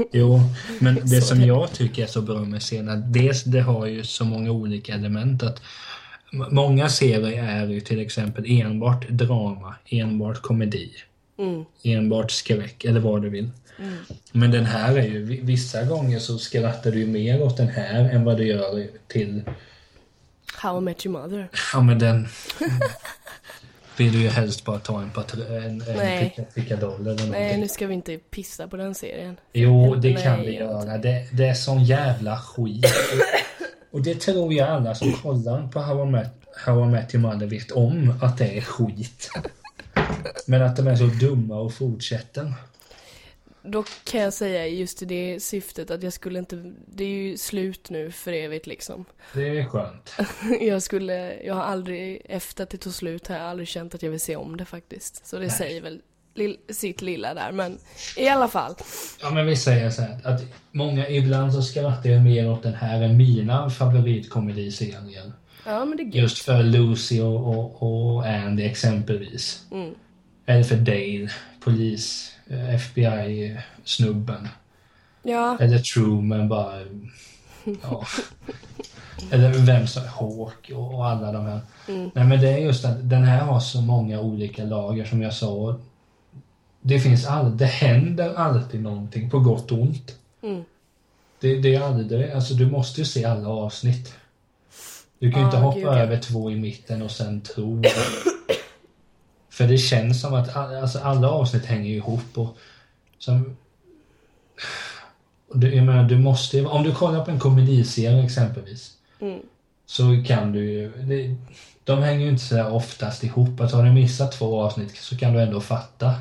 [SPEAKER 1] Jo, men det
[SPEAKER 2] Så
[SPEAKER 1] som
[SPEAKER 2] det-
[SPEAKER 1] jag tycker är så bra med serien är att dels det har ju så många olika element att m- många serier är ju till exempel enbart drama, enbart komedi,
[SPEAKER 2] Mm.
[SPEAKER 1] enbart skräck eller vad du vill. Men den här är ju, vi- vissa gånger så skrattar du ju mer åt den här än vad du gör till,
[SPEAKER 2] How I Met Your Mother.
[SPEAKER 1] ja men den vill du ju helst bara ta en, patr- en, en
[SPEAKER 2] Nej.
[SPEAKER 1] picka- pickadoll eller någonting.
[SPEAKER 2] Nej, nu ska vi inte pissa på den serien.
[SPEAKER 1] Jo, det kan
[SPEAKER 2] Nej,
[SPEAKER 1] vi
[SPEAKER 2] jag
[SPEAKER 1] göra. Det, det är sån jävla skit. Och det tror jag alla som kollar på How I Met, How I Met Your Mother vet om, att det är skit. Men att de är så dumma och fortsätter.
[SPEAKER 2] Dock kan jag säga just i det syftet att jag skulle inte, det är ju slut nu för evigt liksom.
[SPEAKER 1] Det är skönt.
[SPEAKER 2] Jag skulle, jag har aldrig, efter att det tog slut har jag aldrig känt att jag vill se om det faktiskt. Så det
[SPEAKER 1] Nej.
[SPEAKER 2] säger väl lill, sitt lilla där, men i alla fall.
[SPEAKER 1] Ja, men vi säger så här att många, ibland så skrattar jag mer åt den här än mina favoritkomediserier.
[SPEAKER 2] Ja, men det är gött.
[SPEAKER 1] Just för Lucy och, och, och Andy exempelvis.
[SPEAKER 2] Mm.
[SPEAKER 1] Eller för Dale, polis, eh, FBI-snubben.
[SPEAKER 2] Ja,
[SPEAKER 1] Eller Truman bara... Ja. Eller vem som... Hawk och, och alla de här.
[SPEAKER 2] Mm.
[SPEAKER 1] Nej men det är just att den här har så många olika lager som jag sa. Det finns all, Det händer alltid någonting på gott och ont.
[SPEAKER 2] Mm.
[SPEAKER 1] Det, det är aldrig... Alltså du måste ju se alla avsnitt. Du kan ju
[SPEAKER 2] Ja,
[SPEAKER 1] inte hoppa
[SPEAKER 2] gud, ja.
[SPEAKER 1] över två i mitten och sen tro. För det känns som att all, alltså alla avsnitt hänger ju ihop och som, och du, jag menar, du måste ju, om du kollar på en komediserie exempelvis
[SPEAKER 2] Mm.
[SPEAKER 1] så kan du ju, det, de hänger ju inte så där oftast ihop. Att har du missat två avsnitt så kan du ändå fatta.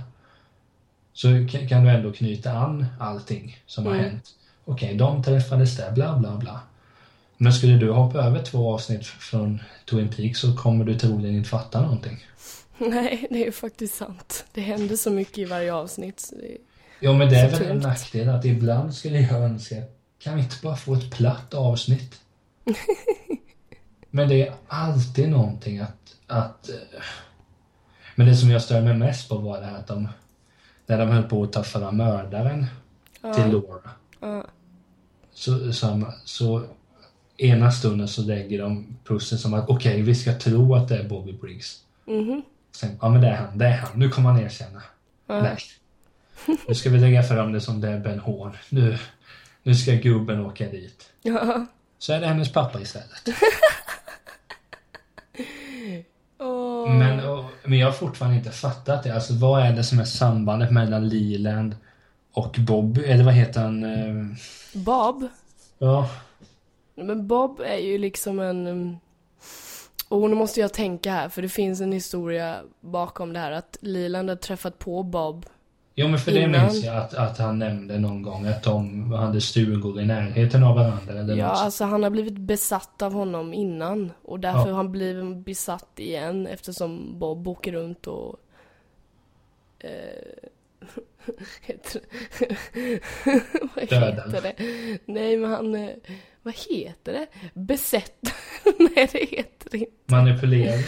[SPEAKER 1] Så kan, kan du ändå knyta an allting som har
[SPEAKER 2] Mm.
[SPEAKER 1] hänt. Okej, de träffades där, bla bla bla. Men skulle du hoppa över två avsnitt från Twin Peaks så kommer du troligen inte fatta någonting.
[SPEAKER 2] nej, det är ju faktiskt sant. Det händer så mycket i varje avsnitt. Så det...
[SPEAKER 1] Ja men det är
[SPEAKER 2] Så
[SPEAKER 1] väl en
[SPEAKER 2] tungt.
[SPEAKER 1] nackdel att ibland skulle jag önska, kan vi inte bara få ett platt avsnitt? men det är alltid någonting att, att... eh, Men det som jag stör mig mest på var det här att de, när de höll på att ta fram mördaren
[SPEAKER 2] Ja.
[SPEAKER 1] till Laura.
[SPEAKER 2] Ja.
[SPEAKER 1] Så, så, så ena stunden så lägger de pussel som att okej, vi ska tro att det är Bobby Briggs.
[SPEAKER 2] Mhm.
[SPEAKER 1] Sen, ja men det är han, det är han, nu kommer han erkänna.
[SPEAKER 2] Ja.
[SPEAKER 1] Nej. Nu ska vi lägga fram det som det är Ben Horn. Nu, nu ska gubben åka dit.
[SPEAKER 2] Ja.
[SPEAKER 1] Så är det hennes pappa istället.
[SPEAKER 2] Åh.
[SPEAKER 1] Men, och, men jag har fortfarande inte fattat det. Alltså vad är det som är sambandet mellan Leland och Bobby? Eller vad heter han? eh,
[SPEAKER 2] Bob?
[SPEAKER 1] Ja,
[SPEAKER 2] Men Bob är ju liksom en... um, Och nu måste jag tänka här, för det finns en historia bakom det här att Leland har träffat på Bob.
[SPEAKER 1] jo, men för det
[SPEAKER 2] Innan.
[SPEAKER 1] minns jag att, att han nämnde någon gång att de hade stugor i närheten av varandra. Eller
[SPEAKER 2] Ja,
[SPEAKER 1] något.
[SPEAKER 2] alltså han har blivit besatt av honom innan och därför
[SPEAKER 1] Ja.
[SPEAKER 2] har han blivit besatt igen eftersom Bob åker runt och... Eh, heter, vad
[SPEAKER 1] Dödar.
[SPEAKER 2] heter det? Nej, men han... eh, Vad heter det? Besätt... Nej det heter det inte.
[SPEAKER 1] Manipulerad.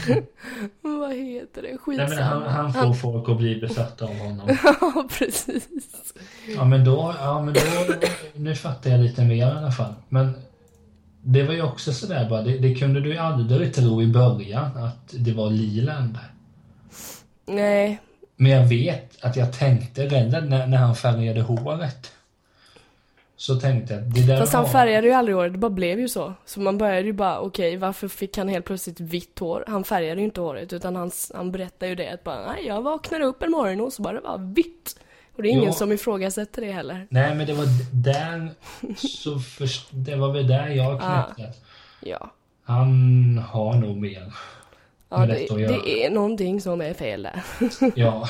[SPEAKER 2] Vad heter det?
[SPEAKER 1] Nej, men
[SPEAKER 2] Skitsamma.
[SPEAKER 1] han, han får folk att bli besatta av honom.
[SPEAKER 2] Ja precis.
[SPEAKER 1] Ja men då, ja men då, nu fattar jag lite mer i alla fall. Men det var ju också sådär bara, det, det kunde du ju aldrig tro i början att det var Liland.
[SPEAKER 2] Nej.
[SPEAKER 1] Men jag vet att jag tänkte redan när, när han färgade håret. Så tänkte jag, det där
[SPEAKER 2] Fast han
[SPEAKER 1] har-
[SPEAKER 2] färgade ju aldrig håret, det bara blev ju så. Så man började ju bara, okej varför fick han helt plötsligt vitt hår? Han färgade ju inte håret utan han, han berättade ju det att bara, nej jag vaknade upp en morgon och så bara det var vitt. Och det är ingen
[SPEAKER 1] Ja.
[SPEAKER 2] som ifrågasätter det heller.
[SPEAKER 1] Nej men det var d- där, så först, det var väl där jag knäckte.
[SPEAKER 2] Ja.
[SPEAKER 1] Han har nog mer.
[SPEAKER 2] Ja,
[SPEAKER 1] Det är
[SPEAKER 2] det,
[SPEAKER 1] lätt att göra.
[SPEAKER 2] det är någonting som är fel där.
[SPEAKER 1] Ja.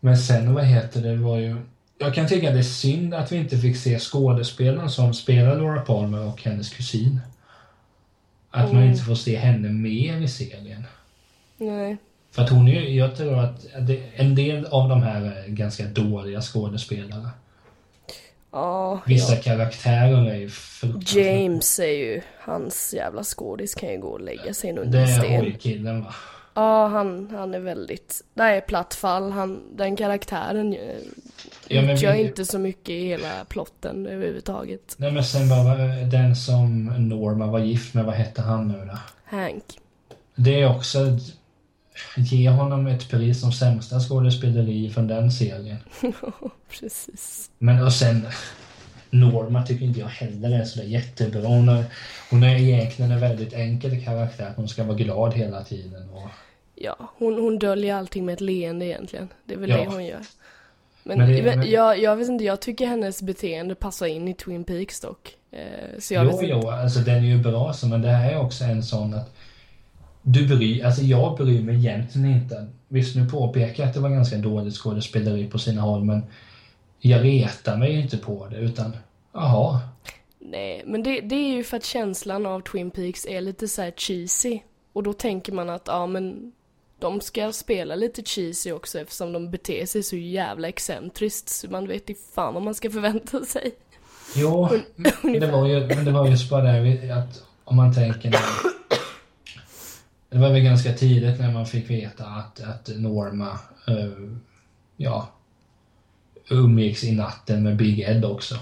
[SPEAKER 1] Men sen, vad heter det, var ju... Jag kan tycka det är synd att vi inte fick se skådespelaren som spelar Laura Palmer och hennes kusin. Att man
[SPEAKER 2] Mm.
[SPEAKER 1] inte får se henne mer i serien.
[SPEAKER 2] Nej.
[SPEAKER 1] För att hon är ju, jag tror att det, en del av de här är ganska dåliga skådespelare.
[SPEAKER 2] Ja,
[SPEAKER 1] Vissa
[SPEAKER 2] ja.
[SPEAKER 1] karaktärer är ju fruktansvärt.
[SPEAKER 2] James är ju, hans jävla skådis kan ju gå och lägga sig
[SPEAKER 1] Det
[SPEAKER 2] under en
[SPEAKER 1] är
[SPEAKER 2] sten.
[SPEAKER 1] hojkillen va?
[SPEAKER 2] Ja, han, han är väldigt... Det här är platt fall. Han, den karaktären eh,
[SPEAKER 1] Ja, men
[SPEAKER 2] utgör
[SPEAKER 1] vi-
[SPEAKER 2] inte så mycket i hela plotten överhuvudtaget.
[SPEAKER 1] Nej men sen bara eh, den som Norma var gift med, vad hette han nu då?
[SPEAKER 2] Hank.
[SPEAKER 1] Det är också... Ge honom ett pris som sämsta skådespeleri från den serien.
[SPEAKER 2] Precis.
[SPEAKER 1] Men och sen... Norma tycker inte jag heller är sådär jättebra. Hon är, hon är egentligen en väldigt enkel karaktär. Hon ska vara glad hela tiden. Och,
[SPEAKER 2] Ja, hon, hon döljer allting med ett leende egentligen. Det är väl
[SPEAKER 1] Ja.
[SPEAKER 2] det hon gör. Men,
[SPEAKER 1] Men det-
[SPEAKER 2] men-
[SPEAKER 1] men-
[SPEAKER 2] Jag, jag vet inte, jag tycker hennes beteende passar in i Twin Peaks dock. Eh, så jag
[SPEAKER 1] jo,
[SPEAKER 2] vet inte.
[SPEAKER 1] jo, alltså den är ju bra så, men det här är också en sån att... Du bryr, alltså jag bryr mig egentligen inte. Visst, nu påpekar jag att det var ganska dåligt skådespeleri på sina håll, men jag retar mig inte på det, utan jaha,
[SPEAKER 2] Nej, men det, det är ju för att känslan av Twin Peaks är lite så här cheesy. Och då tänker man att, ja men de ska spela lite cheesy också eftersom de beter sig så jävla excentriskt så man vet ju fan vad man ska förvänta sig.
[SPEAKER 1] Jo, men det var ju, men det var just bara det här vi- att om man tänker när, Det var väl ganska tidigt när man fick veta att, att Norma eh, ja, umgicks i natten med Big Ed också.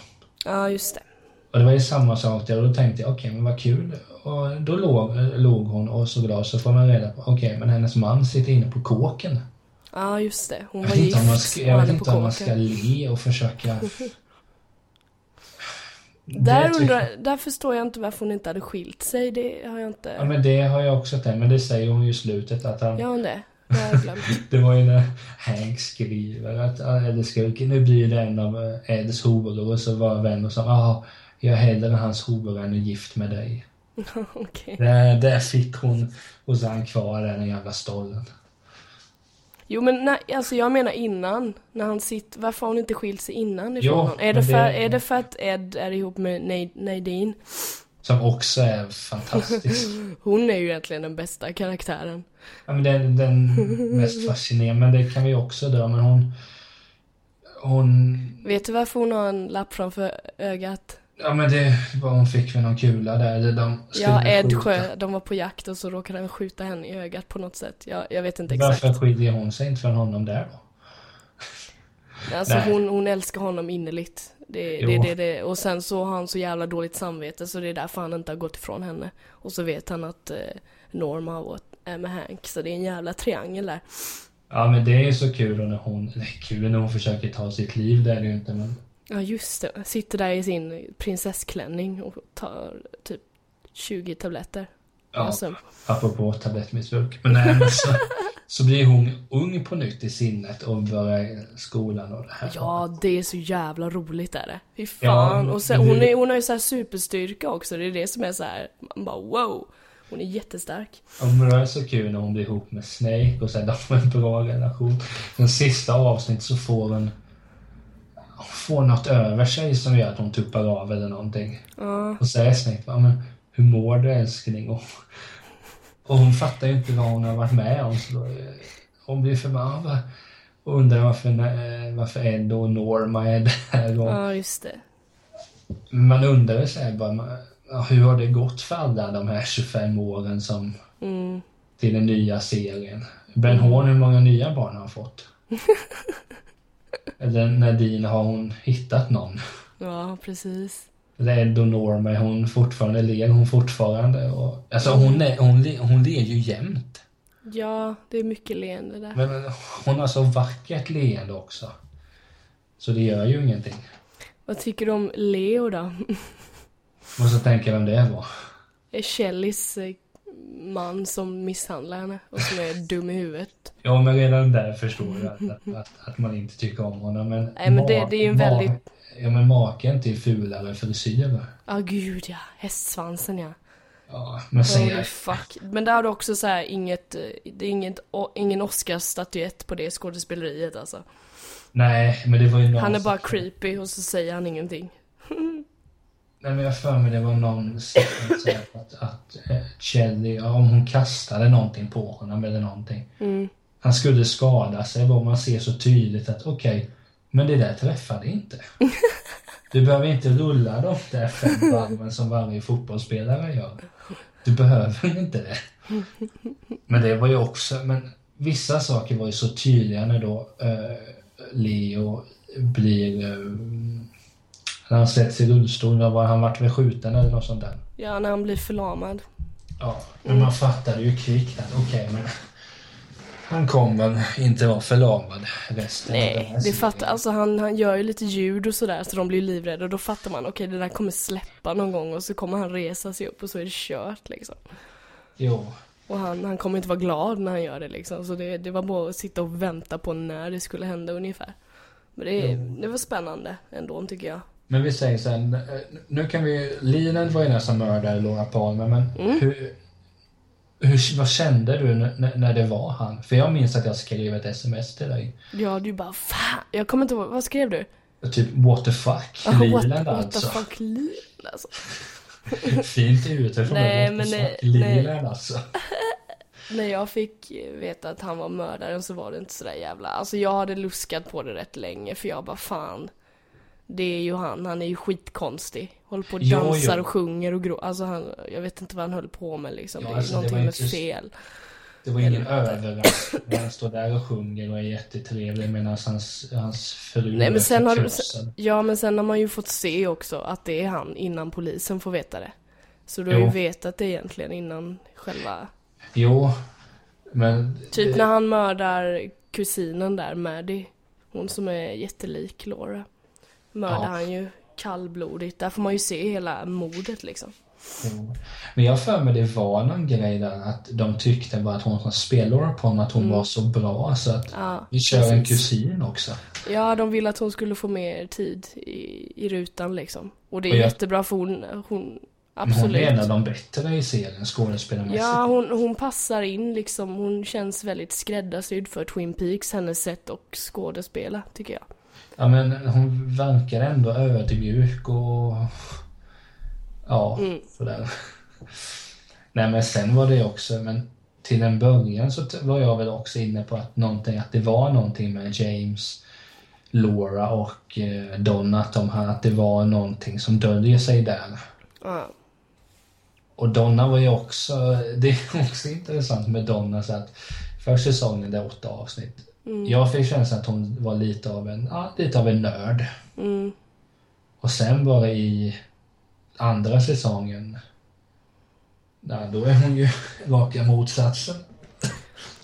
[SPEAKER 2] Ja, just det.
[SPEAKER 1] Och det var ju samma sak där och då tänkte jag okej men vad kul. Och då låg, låg hon och så glad så får man reda på okej men hennes man sitter inne på kåken.
[SPEAKER 2] Ja, just det. Hon
[SPEAKER 1] Jag
[SPEAKER 2] var
[SPEAKER 1] vet inte om man
[SPEAKER 2] gift
[SPEAKER 1] ska,
[SPEAKER 2] och
[SPEAKER 1] jag vet
[SPEAKER 2] hade på
[SPEAKER 1] inte om man ska
[SPEAKER 2] kåken.
[SPEAKER 1] le och försöka... Det
[SPEAKER 2] Där,
[SPEAKER 1] tycker-
[SPEAKER 2] undrar, där förstår jag inte varför hon inte hade skilt sig, det har jag
[SPEAKER 1] Ja,
[SPEAKER 2] inte...
[SPEAKER 1] men det har jag också tänkt, men det säger hon ju i slutet att han...
[SPEAKER 2] Gör hon det? Det har jag glömt.
[SPEAKER 1] Det var ju när Hank skriver att ah, eller skriver, nu blir det en av eh, Eds horor och så var vänner som ah, jag är hellre hans hora än är gift med dig.
[SPEAKER 2] Okej.
[SPEAKER 1] Där, där fick hon och så är han kvar där den jävla stollen.
[SPEAKER 2] Jo men nej, alltså jag menar innan, när han sitter, varför har hon inte skilt sig innan ifrån
[SPEAKER 1] Jo,
[SPEAKER 2] honom? Är
[SPEAKER 1] men
[SPEAKER 2] det,
[SPEAKER 1] det-
[SPEAKER 2] för, är det för att Ed är ihop med Na- Nadine?
[SPEAKER 1] Som också är fantastisk.
[SPEAKER 2] Hon är ju egentligen den bästa karaktären.
[SPEAKER 1] Ja, men den, den mest fascinerande, men det kan vi också dra, men hon... Hon...
[SPEAKER 2] Vet du varför hon har en lapp framför ögat?
[SPEAKER 1] Ja men det var hon fick väl någon kula där. eller De skulle
[SPEAKER 2] Ja, Ed
[SPEAKER 1] skjuta.
[SPEAKER 2] sjö, de var på jakt och så råkade han skjuta henne i ögat på något sätt. Jag, jag vet inte exakt.
[SPEAKER 1] Varför skiljer hon sig inte från honom där då?
[SPEAKER 2] Alltså
[SPEAKER 1] Nej.
[SPEAKER 2] hon, hon älskar honom innerligt. Det,
[SPEAKER 1] Jo.
[SPEAKER 2] det, det, det. Och sen så har han så jävla dåligt samvete så det är därför han inte har gått ifrån henne. Och så vet han att eh, Norma har varit är med Hank, så det är en jävla triangel där.
[SPEAKER 1] Ja men det är så kul och när hon, nej kul när hon försöker ta sitt liv, det är det ju inte men.
[SPEAKER 2] Ja just det, sitter där i sin prinsessklänning och tar typ 20 tabletter.
[SPEAKER 1] Ja,
[SPEAKER 2] Alltså,
[SPEAKER 1] apropå tablettmissbruk. Men nej men så, så blir hon ung på nytt i sinnet och börjar skolan och det här.
[SPEAKER 2] ja, det är så jävla roligt är det. Fy
[SPEAKER 1] Ja,
[SPEAKER 2] fan. och sen,
[SPEAKER 1] men
[SPEAKER 2] hon,
[SPEAKER 1] det-
[SPEAKER 2] är, hon har ju så här superstyrka också, det är det som är så här, man bara wow. Hon är jättestark.
[SPEAKER 1] Och men det är så kul när hon blir ihop med Snake och sen de har en bra relation. Den sista avsnittet så får hon, hon får något över sig som gör att hon tuppar av eller någonting.
[SPEAKER 2] Ja,
[SPEAKER 1] Och säger Snape bara, men hur mår du älskling? Och, och hon fattar ju inte vad hon har varit med om. Så då, eh, hon blir förbannad och undrar varför, eh, varför Ed och Norma är där. Och
[SPEAKER 2] ja just det.
[SPEAKER 1] man undrar ju så här bara, man- ja, hur har det gått för alla de här 25 åren som
[SPEAKER 2] Mm.
[SPEAKER 1] till den nya serien? Ben Horn, hur många nya barn har han fått? Eller Nadine, har hon hittat någon?
[SPEAKER 2] Ja, precis.
[SPEAKER 1] Red och Norma, hon fortfarande, ler hon fortfarande? Och, alltså hon, är, hon, le, hon ler ju jämt.
[SPEAKER 2] Ja, det är mycket leende där.
[SPEAKER 1] Men men, hon har så vackert leende också. Så det gör ju ingenting.
[SPEAKER 2] Vad tycker du om Leo då?
[SPEAKER 1] Och så tänker jag vem det var.
[SPEAKER 2] Är Kellys eh, man som misshandlar henne och som är dum i huvudet.
[SPEAKER 1] Ja, men redan där förstår jag att, att, att, att man inte tycker om honom. Men
[SPEAKER 2] Nej, men det- det är ju en
[SPEAKER 1] ma-
[SPEAKER 2] väldigt-
[SPEAKER 1] Ja, men maken till fulare frisyrer.
[SPEAKER 2] Ja, gud ja. Hästsvansen ja.
[SPEAKER 1] Ja, men
[SPEAKER 2] Holy
[SPEAKER 1] säg...
[SPEAKER 2] fuck. Men där har du också så här inget, eh, det är inget, o- ingen Oscarsstatyett på det skådespeleriet alltså.
[SPEAKER 1] Nej, men det var ju någon...
[SPEAKER 2] Han är bara
[SPEAKER 1] som-
[SPEAKER 2] creepy och så säger han ingenting.
[SPEAKER 1] Nej, men jag har för mig det var någon som sa att, att eh, Chelly, ja, om hon kastade någonting på honom eller någonting.
[SPEAKER 2] Mm.
[SPEAKER 1] Han skulle skada sig, vad man ser så tydligt att okej, men det där träffade inte. Du behöver inte rulla de där fem varven som varje fotbollsspelare gör. Du behöver inte det. Men det var ju också, men vissa saker var ju så tydliga när då eh, Leo blir, eh, när han sätts i rullstol, när var han vart väl skjuten eller något sånt där.
[SPEAKER 2] Ja, när han blir förlamad.
[SPEAKER 1] Ja, men man fattade ju kvickt att okej, men han kommer inte vara förlamad resten av den
[SPEAKER 2] Nej,
[SPEAKER 1] här
[SPEAKER 2] det
[SPEAKER 1] serien.
[SPEAKER 2] fattar, alltså han, han gör ju lite ljud och sådär så de blir ju livrädda och då fattar man okej det där kommer släppa någon gång och så kommer han resa sig upp och så är det kört liksom.
[SPEAKER 1] Jo,
[SPEAKER 2] Och han, han kommer inte vara glad när han gör det liksom så det, det var bara att sitta och vänta på när det skulle hända ungefär. Men det, det var spännande ändå tycker jag.
[SPEAKER 1] men vi säger sen, eh, nu kan vi, Leland var ju den som mördade Laura Palmer, men
[SPEAKER 2] Mm.
[SPEAKER 1] hur, hur, vad kände du n- n- när det var han? För jag minns att jag skrev ett sms till dig.
[SPEAKER 2] Ja, du bara fan, jag kommer inte ihåg, vad skrev du?
[SPEAKER 1] Typ what the fuck,
[SPEAKER 2] Ah, what,
[SPEAKER 1] Leland
[SPEAKER 2] what the
[SPEAKER 1] alltså.
[SPEAKER 2] fuck Leland alltså.
[SPEAKER 1] Fint utifrån,
[SPEAKER 2] Nej,
[SPEAKER 1] what
[SPEAKER 2] men
[SPEAKER 1] the
[SPEAKER 2] nej,
[SPEAKER 1] fuck,
[SPEAKER 2] nej.
[SPEAKER 1] Leland alltså.
[SPEAKER 2] När jag fick veta att han var mördaren så var det inte sådär jävla... Alltså jag hade luskat på det rätt länge för jag bara fan. Det är ju han, han är ju skitkonstig. Håller på och
[SPEAKER 1] Jo,
[SPEAKER 2] dansar
[SPEAKER 1] jo.
[SPEAKER 2] och sjunger och grå. Alltså han, jag vet inte vad han höll på med liksom.
[SPEAKER 1] Ja,
[SPEAKER 2] det är
[SPEAKER 1] alltså, det
[SPEAKER 2] någonting
[SPEAKER 1] var
[SPEAKER 2] med
[SPEAKER 1] inte just-
[SPEAKER 2] fel.
[SPEAKER 1] Det var ingen överraskning när han står där och sjunger och är jättetrevlig medan hans, hans fru
[SPEAKER 2] Nej men sen har du...
[SPEAKER 1] förkrossad.
[SPEAKER 2] Ja men sen har man ju fått se också att det är han innan polisen får veta det. Så du har
[SPEAKER 1] Jo.
[SPEAKER 2] ju vetat det egentligen innan själva...
[SPEAKER 1] Jo, men...
[SPEAKER 2] Typ när han mördar kusinen där, Maddie. Hon som är jättelik Laura. Mördar
[SPEAKER 1] Ja.
[SPEAKER 2] han ju kallblodigt. Där får man ju se hela mordet liksom.
[SPEAKER 1] Jo. Men jag har för mig det var någon grej där att de tyckte bara att hon som spelade på honom att hon var så bra så att
[SPEAKER 2] Ja,
[SPEAKER 1] vi kör en
[SPEAKER 2] Mm. precis.
[SPEAKER 1] kusin också.
[SPEAKER 2] Ja, de ville att hon skulle få mer tid i, i rutan liksom. Och det är
[SPEAKER 1] Och jag-
[SPEAKER 2] jättebra för hon, hon
[SPEAKER 1] Men hon är
[SPEAKER 2] absolut.
[SPEAKER 1] en av de bättre i serien skådespelarmässigt.
[SPEAKER 2] Ja, hon, hon passar in liksom. Hon känns väldigt skräddarsydd för Twin Peaks, hennes sätt att skådespela, tycker jag.
[SPEAKER 1] Ja, men hon verkar ändå ödmjuk och... Ja,
[SPEAKER 2] Mm.
[SPEAKER 1] sådär. Nej, men sen var det också, men till en början så t- var jag väl också inne på att, någonting, att det var någonting med James, Laura och eh, Don, att, de, här- att det var någonting som döljer sig där.
[SPEAKER 2] Ja.
[SPEAKER 1] Och Donna var ju också, det är också intressant med Donna så att för säsongen, det är åtta avsnitt. Jag fick känslan att hon var lite av en, ja, lite av en nörd.
[SPEAKER 2] Mm.
[SPEAKER 1] Och sen bara i andra säsongen, ja, då är hon ju raka motsatsen.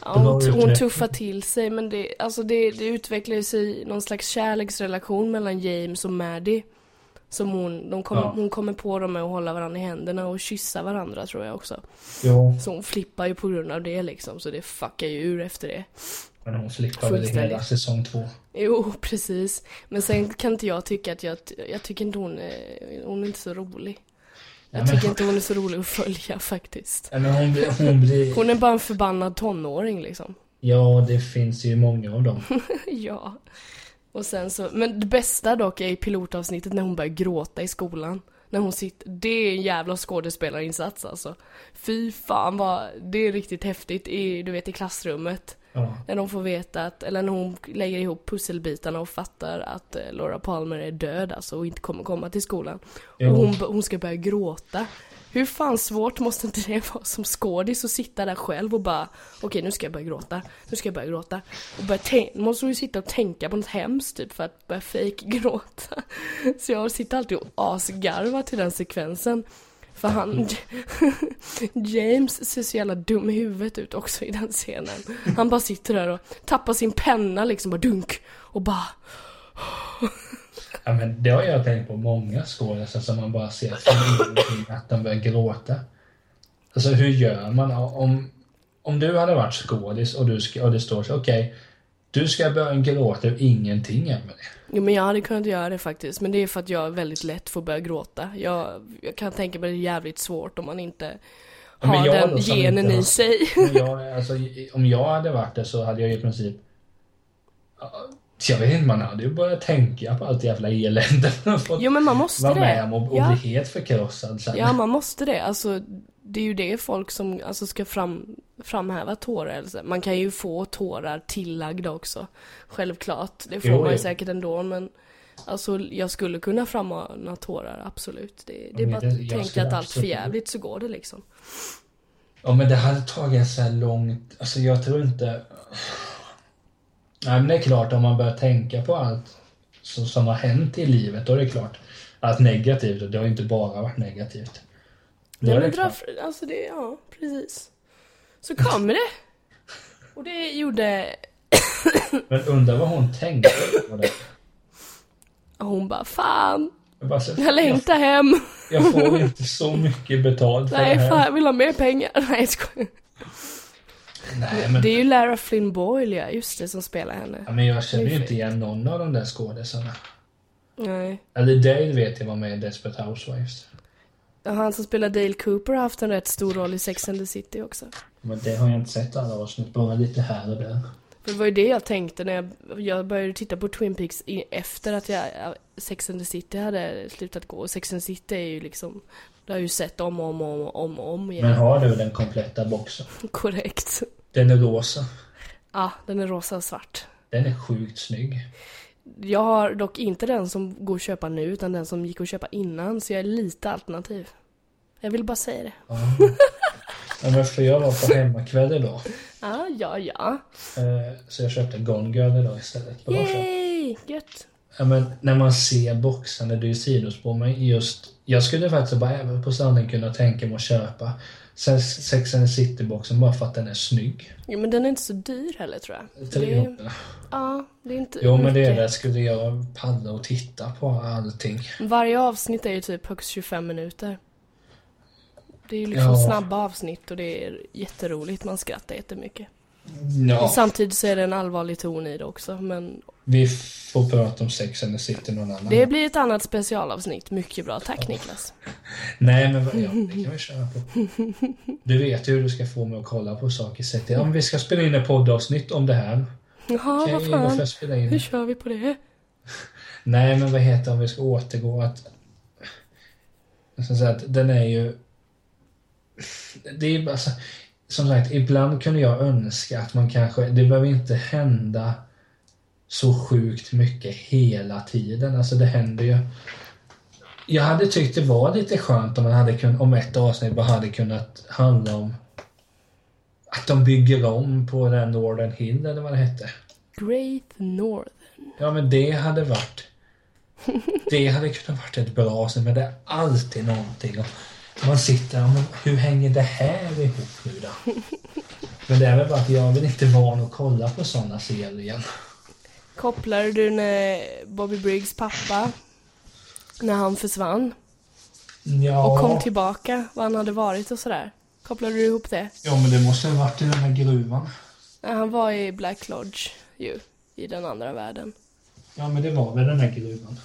[SPEAKER 2] Ja,
[SPEAKER 1] Då har
[SPEAKER 2] hon,
[SPEAKER 1] du gjort
[SPEAKER 2] hon
[SPEAKER 1] rätt.
[SPEAKER 2] tuffar till sig men det, alltså det, det utvecklar ju sig någon slags kärleksrelation mellan James och Maddie. Som hon, de kom,
[SPEAKER 1] Ja.
[SPEAKER 2] hon kommer på dem med att hålla varandra i händerna och kyssa varandra tror jag också.
[SPEAKER 1] Jo,
[SPEAKER 2] Så hon flippar ju på grund av det liksom, så det fuckar ju ur efter det.
[SPEAKER 1] men hon flippar väl
[SPEAKER 2] Fullständigt.
[SPEAKER 1] hela säsong två.
[SPEAKER 2] Jo, precis. Men sen kan inte jag tycka att jag, jag tycker inte hon är, hon är inte så rolig.
[SPEAKER 1] Ja,
[SPEAKER 2] Jag
[SPEAKER 1] men,
[SPEAKER 2] tycker inte hon är så rolig att följa faktiskt.
[SPEAKER 1] ja, men hon, blir, hon blir,
[SPEAKER 2] Hon är bara en förbannad tonåring liksom.
[SPEAKER 1] ja det finns ju många av dem.
[SPEAKER 2] Ja. Och sen så, men det bästa dock är i pilotavsnittet när hon börjar gråta i skolan. När hon sitter, det är en jävla skådespelarinsats alltså. Fy fan vad, det är riktigt häftigt i, du vet i klassrummet.
[SPEAKER 1] Ja.
[SPEAKER 2] När de får veta att, eller när hon lägger ihop pusselbitarna och fattar att eh, Laura Palmer är död alltså och inte kommer komma till skolan.
[SPEAKER 1] Jo.
[SPEAKER 2] Och hon, b- hon ska börja gråta. Hur fan svårt måste inte det vara som skådis att sitta där själv och bara Okej nu ska jag börja gråta, nu ska jag börja gråta. Och börja tän- måste hon ju sitta och tänka på något hemskt typ för att börja fejkgråta. Så jag sitter alltid och asgarvar till den sekvensen. För han, James ser så jävla dum i huvudet ut också i den scenen. Han bara sitter där och tappar sin penna liksom, bara dunk. Och bara,
[SPEAKER 1] ja, men det har jag tänkt på många skådisar som man bara ser som ingenting, att de börjar gråta. Alltså hur gör man? Om, om du hade varit skådis och, du ska, och det står så okej, du ska börja gråta ur ingenting, Emelie.
[SPEAKER 2] jo men jag hade kunnat göra det faktiskt. Men det är för att jag är väldigt lätt får börja gråta. Jag, jag kan tänka mig det är jävligt svårt om man inte
[SPEAKER 1] Ja, men
[SPEAKER 2] har
[SPEAKER 1] jag
[SPEAKER 2] den
[SPEAKER 1] då som
[SPEAKER 2] genen
[SPEAKER 1] inte har-
[SPEAKER 2] i sig.
[SPEAKER 1] Men jag, alltså, i- om jag hade varit det så hade jag i princip... Ja, Jag vet inte, man hade ju börjat tänka på allt jävla elände man har fått
[SPEAKER 2] Jo men man måste
[SPEAKER 1] vara
[SPEAKER 2] det.
[SPEAKER 1] med om och, och
[SPEAKER 2] ja.
[SPEAKER 1] bli helt förkrossad sen.
[SPEAKER 2] Ja, man måste det. Alltså, det är ju det folk som alltså, ska fram, framhäva tårar. Alltså. Man kan ju få tårar tillagda också. Självklart. Det får
[SPEAKER 1] Jo,
[SPEAKER 2] man ju
[SPEAKER 1] jo.
[SPEAKER 2] säkert ändå, men alltså, jag skulle kunna frammana tårar, absolut. Det, det är
[SPEAKER 1] men
[SPEAKER 2] bara
[SPEAKER 1] det- jag
[SPEAKER 2] att tänka
[SPEAKER 1] skulle
[SPEAKER 2] att allt
[SPEAKER 1] absolut-
[SPEAKER 2] för jävligt så går det liksom.
[SPEAKER 1] Ja, men det hade tagit så här långt... Alltså jag tror inte... Nej, men det är klart, om man börjar tänka på allt som, som har hänt i livet, då är det klart. Allt negativt, och det har ju inte bara varit negativt. Då
[SPEAKER 2] Nej,
[SPEAKER 1] är
[SPEAKER 2] men
[SPEAKER 1] det
[SPEAKER 2] dra,
[SPEAKER 1] klart.
[SPEAKER 2] fr- alltså det, ja, precis. Så kommer det. Och det gjorde
[SPEAKER 1] Men undrar vad hon tänkte på det.
[SPEAKER 2] hon bara, fan,
[SPEAKER 1] Jag, bara, så,
[SPEAKER 2] jag
[SPEAKER 1] jag,
[SPEAKER 2] längtar hem.
[SPEAKER 1] jag får inte så mycket betalt för det
[SPEAKER 2] Nej,
[SPEAKER 1] här.
[SPEAKER 2] fan, jag vill ha mer pengar. Nej, jag skojar.
[SPEAKER 1] Nej, men,
[SPEAKER 2] Det är ju Lara Flynn Boyle, ja, just det, som spelar henne.
[SPEAKER 1] ja, men jag känner
[SPEAKER 2] det
[SPEAKER 1] ju
[SPEAKER 2] är
[SPEAKER 1] inte igen någon av de där skådisarna.
[SPEAKER 2] Nej.
[SPEAKER 1] Eller Dale vet jag var med i Desperate Housewives.
[SPEAKER 2] Och Han som spelar Dale Cooper har haft en rätt stor roll i Sex and the City också.
[SPEAKER 1] Men det har jag inte sett alla avsnitt, bara lite här och där.
[SPEAKER 2] För det var ju det jag tänkte när jag, jag började titta på Twin Peaks i, efter att jag, Sex and the City hade slutat gå. Och Sex and the City är ju liksom, det har jag ju sett om och om och om, och om, och om igen.
[SPEAKER 1] Men har du den kompletta boxen?
[SPEAKER 2] Korrekt.
[SPEAKER 1] Den är rosa.
[SPEAKER 2] Ja, den är rosa och svart.
[SPEAKER 1] Den är sjukt snygg.
[SPEAKER 2] Jag har dock inte den som går att köpa nu, utan den som gick att köpa innan, så jag är lite alternativ. Jag vill bara säga det.
[SPEAKER 1] Ja, men för jag var på hemmakväll idag.
[SPEAKER 2] Ah, ja, ja.
[SPEAKER 1] eh, Så jag köpte Gone Girl idag istället. Bra köp.
[SPEAKER 2] Yay! Gött.
[SPEAKER 1] Ja, men när man ser boxarna, det är ju sidospår. Men just, jag skulle faktiskt bara även på stranden kunna tänka mig att köpa sen Sex and the City-boxen bara för att den är snygg.
[SPEAKER 2] Jo men den är inte så dyr heller tror jag. Det är,
[SPEAKER 1] 300.
[SPEAKER 2] ja, det är inte
[SPEAKER 1] Jo men det är
[SPEAKER 2] mycket.
[SPEAKER 1] det. Skulle jag palla och titta på allting?
[SPEAKER 2] Varje avsnitt är ju typ högst 25 minuter. Det är ju liksom
[SPEAKER 1] Ja.
[SPEAKER 2] snabba avsnitt och det är jätteroligt, man skrattar jättemycket. Och
[SPEAKER 1] Ja.
[SPEAKER 2] samtidigt så är det en allvarlig ton i det också, men
[SPEAKER 1] Vi får prata om Sex and the City någon annan
[SPEAKER 2] det blir ett annat specialavsnitt. Mycket bra, tack Niklas.
[SPEAKER 1] Nej men vad- ja, det kan vi köra på. Du vet ju hur du ska få mig att kolla på saker. Sätt dig. Om vi ska spela in ett poddavsnitt om det här.
[SPEAKER 2] Jaha,
[SPEAKER 1] Okej,
[SPEAKER 2] vad
[SPEAKER 1] då får
[SPEAKER 2] fan.
[SPEAKER 1] jag spela in.
[SPEAKER 2] Hur
[SPEAKER 1] det.
[SPEAKER 2] kör vi på det?
[SPEAKER 1] Nej men vad heter det om vi ska återgå att... Jag ska säga att den är ju... Det är ju bara så... Som sagt, ibland kunde jag önska att man kanske... Det behöver inte hända så sjukt mycket hela tiden. Alltså det händer ju... Jag hade tyckt det var lite skönt om, man hade kun, om ett avsnitt bara hade kunnat handla om att de bygger om på den Northern Hill eller vad det hette.
[SPEAKER 2] Great North.
[SPEAKER 1] Ja, men det hade varit... Det hade kunnat varit ett bra avsnitt, men det är alltid någonting. Och man sitter och men hur hänger det här ihop nu då? Men det är väl bara att jag vill inte van att kolla på sådana serier.
[SPEAKER 2] Kopplade du när Bobby Briggs pappa, när han försvann?
[SPEAKER 1] Ja,
[SPEAKER 2] Och kom tillbaka, vad han hade varit och sådär. Kopplade du ihop det?
[SPEAKER 1] ja men det måste ha varit i den här gruvan.
[SPEAKER 2] Nej, han var i Black Lodge ju, i den andra världen.
[SPEAKER 1] Ja, men det var väl den här gruvan.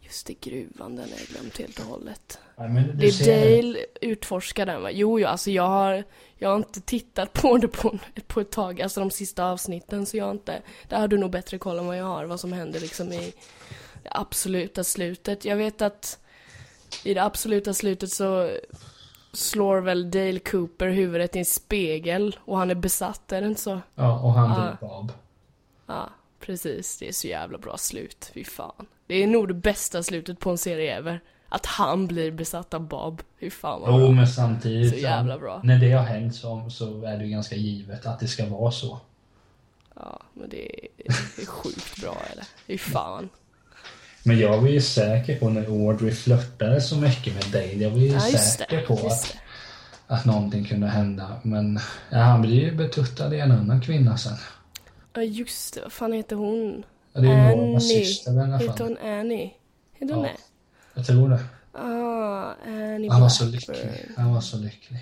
[SPEAKER 2] Just det, gruvan, den har jag glömt helt och hållet.
[SPEAKER 1] Ja, men du
[SPEAKER 2] Det är
[SPEAKER 1] ser
[SPEAKER 2] Dale utforskar den va? Jo, jo, alltså jag har, jag har inte tittat på det på, på ett tag, alltså de sista avsnitten, så jag har inte, där har du nog bättre koll än vad jag har, vad som händer liksom i det absoluta slutet. Jag vet att i det absoluta slutet så slår väl Dale Cooper huvudet i en spegel och han är besatt, är det inte så?
[SPEAKER 1] Ja, och han
[SPEAKER 2] Ja.
[SPEAKER 1] blir Bob.
[SPEAKER 2] Ja, precis. Det är så jävla bra slut. Fy fan. Det är nog det bästa slutet på en serie ever. Att han blir besatt av Bob. Fy fan vad
[SPEAKER 1] Jo,
[SPEAKER 2] bra.
[SPEAKER 1] men samtidigt.
[SPEAKER 2] Så jävla bra.
[SPEAKER 1] När det har hänt så, så är det ju ganska givet att det ska vara så.
[SPEAKER 2] Ja, men det är, det är sjukt bra eller? Fy fan.
[SPEAKER 1] Men jag var ju säker på när Audrey flörtade så mycket med Dale. Jag var ju
[SPEAKER 2] Ja, just
[SPEAKER 1] säker
[SPEAKER 2] det.
[SPEAKER 1] på
[SPEAKER 2] Just
[SPEAKER 1] att,
[SPEAKER 2] det.
[SPEAKER 1] att någonting kunde hända. Men ja, han blir ju betuttad i en annan kvinna sen.
[SPEAKER 2] Ja, just det. Vad fan heter hon?
[SPEAKER 1] Ja, Det
[SPEAKER 2] Äh,
[SPEAKER 1] är ju Normas
[SPEAKER 2] Annie.
[SPEAKER 1] syster eller vad
[SPEAKER 2] Heter
[SPEAKER 1] fan.
[SPEAKER 2] hon Annie? Heter hon
[SPEAKER 1] Ja.
[SPEAKER 2] det?
[SPEAKER 1] Jag tror det.
[SPEAKER 2] Ah, Annie
[SPEAKER 1] Han var så
[SPEAKER 2] Blackburn.
[SPEAKER 1] lycklig. Han var så lycklig.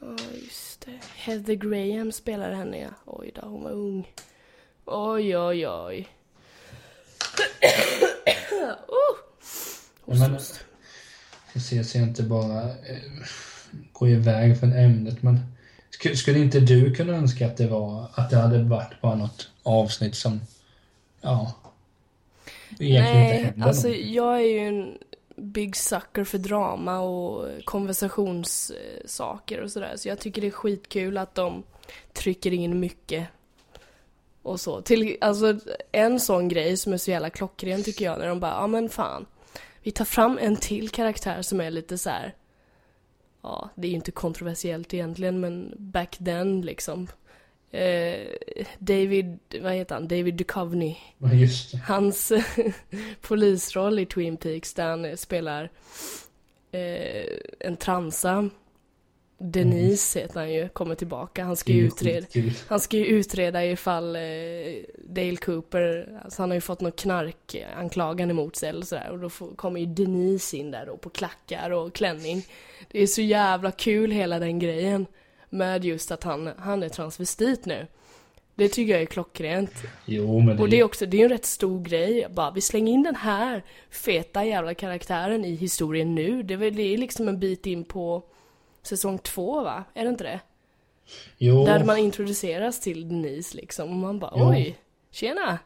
[SPEAKER 2] Ja, just det. Heather Graham spelade henne, ja. Oj då, hon var ung. Oj, oj, oj. oh!
[SPEAKER 1] Men, ses jag inte bara eh, gå iväg från ämnet men sk- skulle inte du kunna önska att det var att det hade varit bara något avsnitt som ja egentligen inte
[SPEAKER 2] Nej,
[SPEAKER 1] hände
[SPEAKER 2] alltså
[SPEAKER 1] någonting?
[SPEAKER 2] jag är ju en big sucker för drama och konversationssaker och sådär. Så jag tycker det är skitkul att de trycker in mycket och så. Till, alltså en sån grej som är så jävla klockren tycker jag när de bara, ja men fan. Vi tar fram en till karaktär som är lite så här. ja det är ju inte kontroversiellt egentligen men back then liksom. Eh, David, vad heter han? David Duchovny.
[SPEAKER 1] Men just det.
[SPEAKER 2] Hans polisroll i Twin Peaks där han eh, spelar eh, en transa. Denise heter han ju, kommer tillbaka. Han ska
[SPEAKER 1] Det är
[SPEAKER 2] ju
[SPEAKER 1] ju
[SPEAKER 2] utreda,
[SPEAKER 1] skitkul.
[SPEAKER 2] han ska ju utreda ifall eh, Dale Cooper, alltså han har ju fått någon knarkanklagan emot sig eller sådär och då får, kommer ju Denise in där då på klackar och klänning. Det är så jävla kul hela den grejen med just att han, han är transvestit nu. Det tycker jag är klockrent.
[SPEAKER 1] Jo men det,
[SPEAKER 2] Och det är också, det är ju en rätt stor grej, bara vi slänger in den här feta jävla karaktären i historien nu. Det är väl- det är liksom en bit in på säsong två va? Är det inte det?
[SPEAKER 1] jo,
[SPEAKER 2] Där man introduceras till Denise liksom och man bara
[SPEAKER 1] Jo.
[SPEAKER 2] oj, tjena!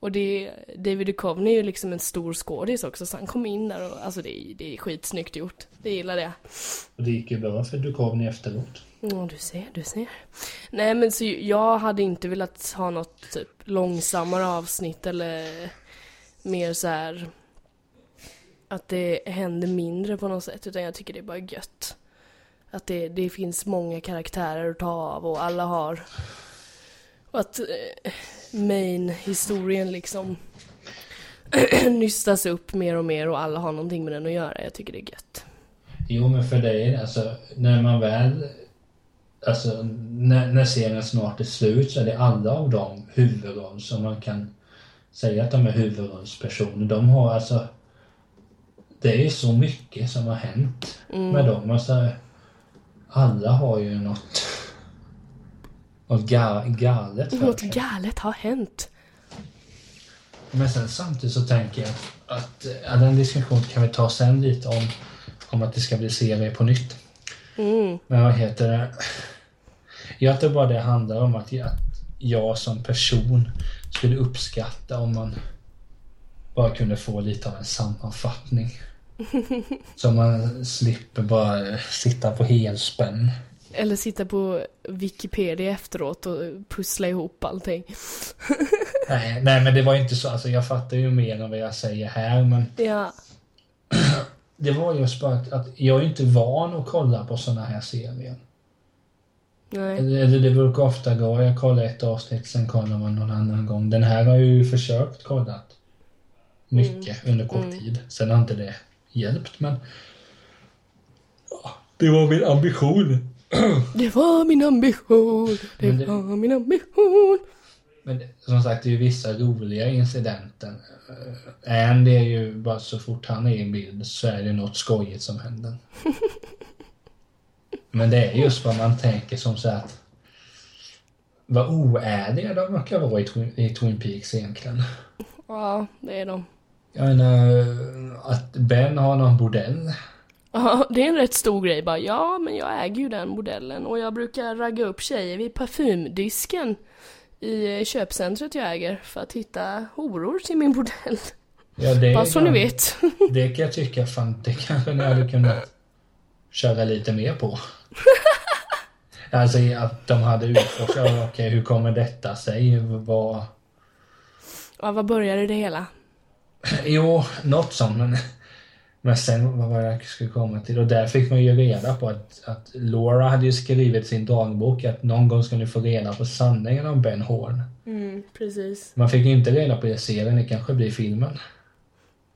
[SPEAKER 2] Och det, David Duchovny är ju liksom en stor skådis också så han kom in där och alltså det, är- det är skitsnyggt gjort. Det gillar jag.
[SPEAKER 1] och det gick ju bra för Duchovny efteråt.
[SPEAKER 2] Ja, Mm, du ser, du ser. Nej, men så jag hade inte velat ha något typ långsammare avsnitt eller mer så här att det händer mindre på något sätt, utan jag tycker det är bara gött. Att det, det finns många karaktärer att ta av och alla har och att eh, main-historien liksom nystas upp mer och mer och alla har någonting med den att göra. Jag tycker det är gött.
[SPEAKER 1] Jo men för dig alltså när man väl alltså när, när serien snart är slut så är det alla av de huvudroll som man kan säga att de är huvudrollspersoner. De har alltså det är ju så mycket som har hänt
[SPEAKER 2] Mm.
[SPEAKER 1] med dem. Alltså, alla har ju något något ga- galet för
[SPEAKER 2] Något
[SPEAKER 1] sig.
[SPEAKER 2] galet har hänt.
[SPEAKER 1] Men sen samtidigt så tänker jag att ja, den diskussionen kan vi ta sen lite om, om att det ska bli serie på nytt. Men vad heter det? Jag tror bara det handlar om att jag, att jag som person skulle uppskatta om man bara kunde få lite av en sammanfattning. Så man slipper bara eh, sitta på helspänn.
[SPEAKER 2] Eller sitta på Wikipedia efteråt och pussla ihop allting.
[SPEAKER 1] Nej, nej, men det var ju inte så. Alltså, jag fattar ju mer än vad jag säger här, men
[SPEAKER 2] Ja,
[SPEAKER 1] Det var just bara att, att jag är ju inte van att kolla på såna här serier.
[SPEAKER 2] nej.
[SPEAKER 1] Eller eller det brukar ofta gå, jag kollar ett avsnitt, sen kollar man någon annan gång. Den här har jag ju försökt kolla mycket under kort tid. Sen har inte det hjälpt, men... Ja, Det var min ambition.
[SPEAKER 2] Det var min ambition, det
[SPEAKER 1] Men det-
[SPEAKER 2] var min ambition.
[SPEAKER 1] Men det- som sagt, det är ju vissa roliga incidenter. Eh, Andy är ju bara så fort han är i en bild så är det något skojigt som händer. Men det är just vad man tänker som så att vad oärliga de verkar vara i Twin, i Twin Peaks egentligen.
[SPEAKER 2] Ja, det är de.
[SPEAKER 1] Jag menar att Ben har någon bordell.
[SPEAKER 2] Ja, det är en rätt stor grej bara. Ja, men jag äger ju den modellen och jag brukar ragga upp tjejer vid parfymdisken i eh, köpcentret jag äger för att hitta horor till min bordell.
[SPEAKER 1] Ja, det, är
[SPEAKER 2] Bara så ni
[SPEAKER 1] gam-
[SPEAKER 2] vet.
[SPEAKER 1] det kan jag tycka, fan det kanske ni hade kunnat köra lite mer på. alltså att de hade utforskat, ja, okej hur kommer detta sig? Vad...
[SPEAKER 2] Ja, vad började det hela?
[SPEAKER 1] Jo, något sånt. Men, men sen vad var jag skulle komma till. Och där fick man ju reda på att, att Laura hade ju skrivit i sin dagbok att någon gång ska ni få reda på sanningen om Ben Horn.
[SPEAKER 2] Mm, precis.
[SPEAKER 1] Man fick ju inte reda på det i serien, det kanske blir filmen.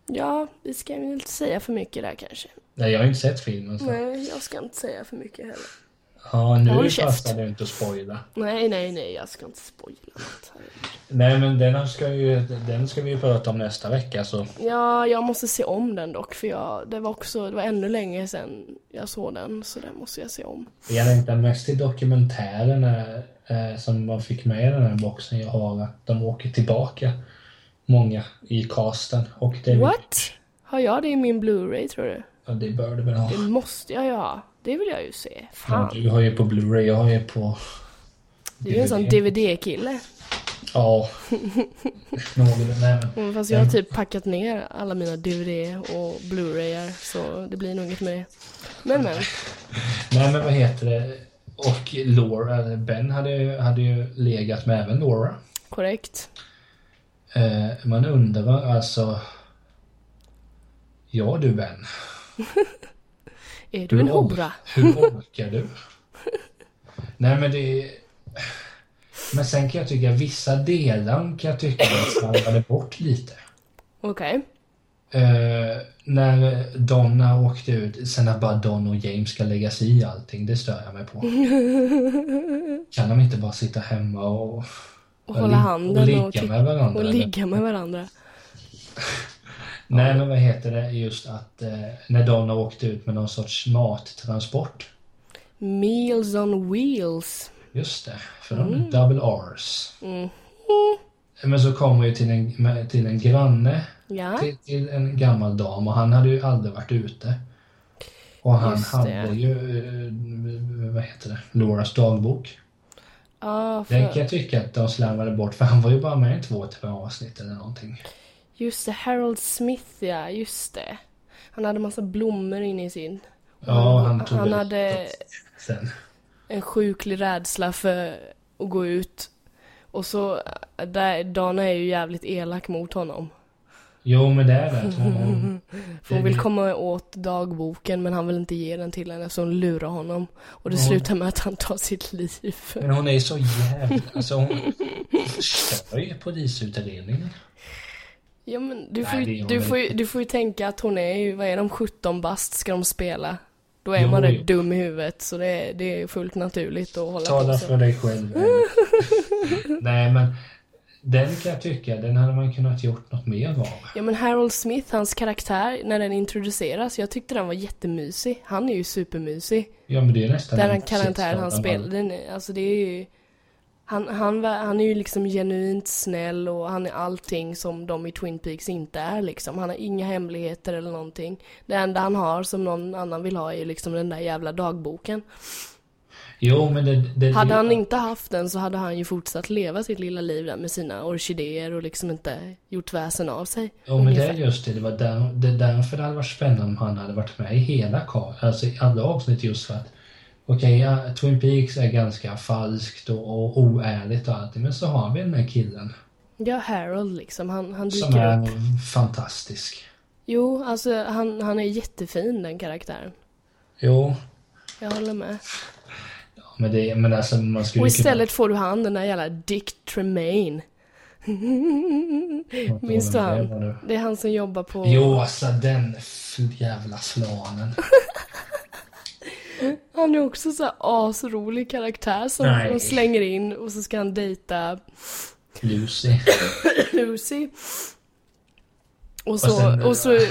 [SPEAKER 2] Ja, vi ska ju inte säga för mycket där kanske.
[SPEAKER 1] Nej, jag har ju inte sett filmen så.
[SPEAKER 2] Nej, jag ska inte säga för mycket heller.
[SPEAKER 1] Ja, nu
[SPEAKER 2] Håll käft.
[SPEAKER 1] passar det inte att spoila.
[SPEAKER 2] Nej, nej, nej, jag ska inte spoila något. här.
[SPEAKER 1] Nej, men den ska, ju, den ska vi ju prata om nästa vecka så.
[SPEAKER 2] Ja, jag måste se om den dock, för jag, det var också, det var ännu länge sedan jag såg den, så den måste jag se om.
[SPEAKER 1] Jag längtar mest till dokumentärerna eh, som man fick med i den här boxen jag har. Att de åker tillbaka, många, i casten. Och det,
[SPEAKER 2] What? Har jag det i min blu-ray tror du?
[SPEAKER 1] Ja, det bör du väl ha.
[SPEAKER 2] Det måste jag ju ha. Det vill jag ju se.
[SPEAKER 1] Ah. Ja,
[SPEAKER 2] Fan.
[SPEAKER 1] du har ju på Blu-ray, jag har ju på...
[SPEAKER 2] Du är ju en sån DVD-kille.
[SPEAKER 1] Ja. Någon, nej men.
[SPEAKER 2] Mm, Fast jag har typ packat ner alla mina DVD och blu-rayar så det blir nog inget med det. Men men,
[SPEAKER 1] Nej men vad heter det? Och Laura, eller Ben hade ju, hade ju legat med även Laura.
[SPEAKER 2] korrekt.
[SPEAKER 1] Eh, man undrar alltså... Ja du Ben,
[SPEAKER 2] Är du en
[SPEAKER 1] Hur or-
[SPEAKER 2] hora?
[SPEAKER 1] hur orkar du? Nej men det... Men sen kan jag tycka vissa delar kan jag tycka att slarvade bort lite.
[SPEAKER 2] Okej.
[SPEAKER 1] Eh, när Donna åkte ut, sen att bara Don och James ska lägga sig i allting, det stör jag mig på. Kan de inte bara sitta hemma och...
[SPEAKER 2] Och hålla
[SPEAKER 1] och
[SPEAKER 2] handen
[SPEAKER 1] ligga
[SPEAKER 2] och, titta-
[SPEAKER 1] med varandra?
[SPEAKER 2] och
[SPEAKER 1] eller?
[SPEAKER 2] ligga med varandra.
[SPEAKER 1] Nej, men vad heter det? Just att eh, när Donna åkte ut med någon sorts mattransport.
[SPEAKER 2] Meals on wheels.
[SPEAKER 1] Just det, för de är double R's.
[SPEAKER 2] Mm.
[SPEAKER 1] Men så kom hon ju till en, med- till en granne,
[SPEAKER 2] Ja,
[SPEAKER 1] till, till en gammal dam och han hade ju aldrig varit ute. Och han
[SPEAKER 2] Just det.
[SPEAKER 1] hade ju, eh, vad heter det, Loras dagbok.
[SPEAKER 2] ja
[SPEAKER 1] Den kan
[SPEAKER 2] Ah, för
[SPEAKER 1] jag tycka att de slarvade bort för han var ju bara med i två, tre avsnitt eller någonting.
[SPEAKER 2] just det, Harold Smith ja, just det. Han hade massa blommor inne i sin.
[SPEAKER 1] Ja, han tog
[SPEAKER 2] han
[SPEAKER 1] väl-
[SPEAKER 2] hade
[SPEAKER 1] Sen.
[SPEAKER 2] en sjuklig rädsla för att gå ut. Och så, där, Dana är ju jävligt elak mot honom.
[SPEAKER 1] Jo, men det är det. att Hon,
[SPEAKER 2] För
[SPEAKER 1] Mm.
[SPEAKER 2] hon vill komma åt dagboken men han vill inte ge den till henne så hon lurar honom. Och det
[SPEAKER 1] Ja.
[SPEAKER 2] slutar med att han tar sitt liv.
[SPEAKER 1] Men hon är ju så jävla... Alltså hon förstör ju polisutredningen.
[SPEAKER 2] Ja men du
[SPEAKER 1] Nej,
[SPEAKER 2] får,
[SPEAKER 1] det är
[SPEAKER 2] ju,
[SPEAKER 1] hon
[SPEAKER 2] du,
[SPEAKER 1] väl
[SPEAKER 2] får ju, du får ju tänka att hon är ju, vad är de, 17 bast ska de spela? Då är
[SPEAKER 1] Jo,
[SPEAKER 2] man rätt
[SPEAKER 1] jo.
[SPEAKER 2] dum i huvudet så det är, det är fullt naturligt att hålla på
[SPEAKER 1] Tala
[SPEAKER 2] så.
[SPEAKER 1] för dig själv. Nej, men den kan jag tycka, den hade man kunnat gjort något mer av.
[SPEAKER 2] Ja men Harold Smith, hans karaktär, när den introduceras, jag tyckte den var jättemysig. Han är ju supermysig.
[SPEAKER 1] Ja, men det är nästan...
[SPEAKER 2] Den
[SPEAKER 1] en
[SPEAKER 2] här karaktären han
[SPEAKER 1] sexskapad
[SPEAKER 2] spelar,
[SPEAKER 1] man.
[SPEAKER 2] den är, alltså det är ju... Han, han, var- han är ju liksom genuint snäll och han är allting som de i Twin Peaks inte är liksom. Han har inga hemligheter eller någonting. Det enda han har som någon annan vill ha är ju liksom den där jävla dagboken.
[SPEAKER 1] Jo, men det... det
[SPEAKER 2] Hade
[SPEAKER 1] det,
[SPEAKER 2] han inte haft den så hade han ju fortsatt leva sitt lilla liv där med sina orkidéer och liksom inte gjort väsen av sig.
[SPEAKER 1] Jo, men det är
[SPEAKER 2] ungefär.
[SPEAKER 1] just det. Det var där, det är därför det hade varit spännande om han hade varit med i hela kar, Alltså i alla avsnitt just för att... Okej, ja, Twin Peaks är ganska falskt och, och oärligt och allting, men så har vi den här killen
[SPEAKER 2] Ja, Harold liksom, han, han
[SPEAKER 1] som
[SPEAKER 2] dyker upp.
[SPEAKER 1] är fantastisk.
[SPEAKER 2] Jo, alltså han, han är jättefin den karaktären.
[SPEAKER 1] Jo,
[SPEAKER 2] Jag håller med.
[SPEAKER 1] Men, det, men alltså man skulle
[SPEAKER 2] Och
[SPEAKER 1] ju
[SPEAKER 2] istället får du han den där jävla Dick Tremaine.
[SPEAKER 1] kunna...
[SPEAKER 2] minns du han?
[SPEAKER 1] Vad du-
[SPEAKER 2] Det är han som jobbar på...
[SPEAKER 1] Jo, alltså den f- jävla slanen.
[SPEAKER 2] Han är också så här asrolig karaktär som
[SPEAKER 1] Nej.
[SPEAKER 2] de slänger in och så ska han dejta
[SPEAKER 1] Lucy.
[SPEAKER 2] Lucy. Och så,
[SPEAKER 1] Och
[SPEAKER 2] och,
[SPEAKER 1] sen-
[SPEAKER 2] så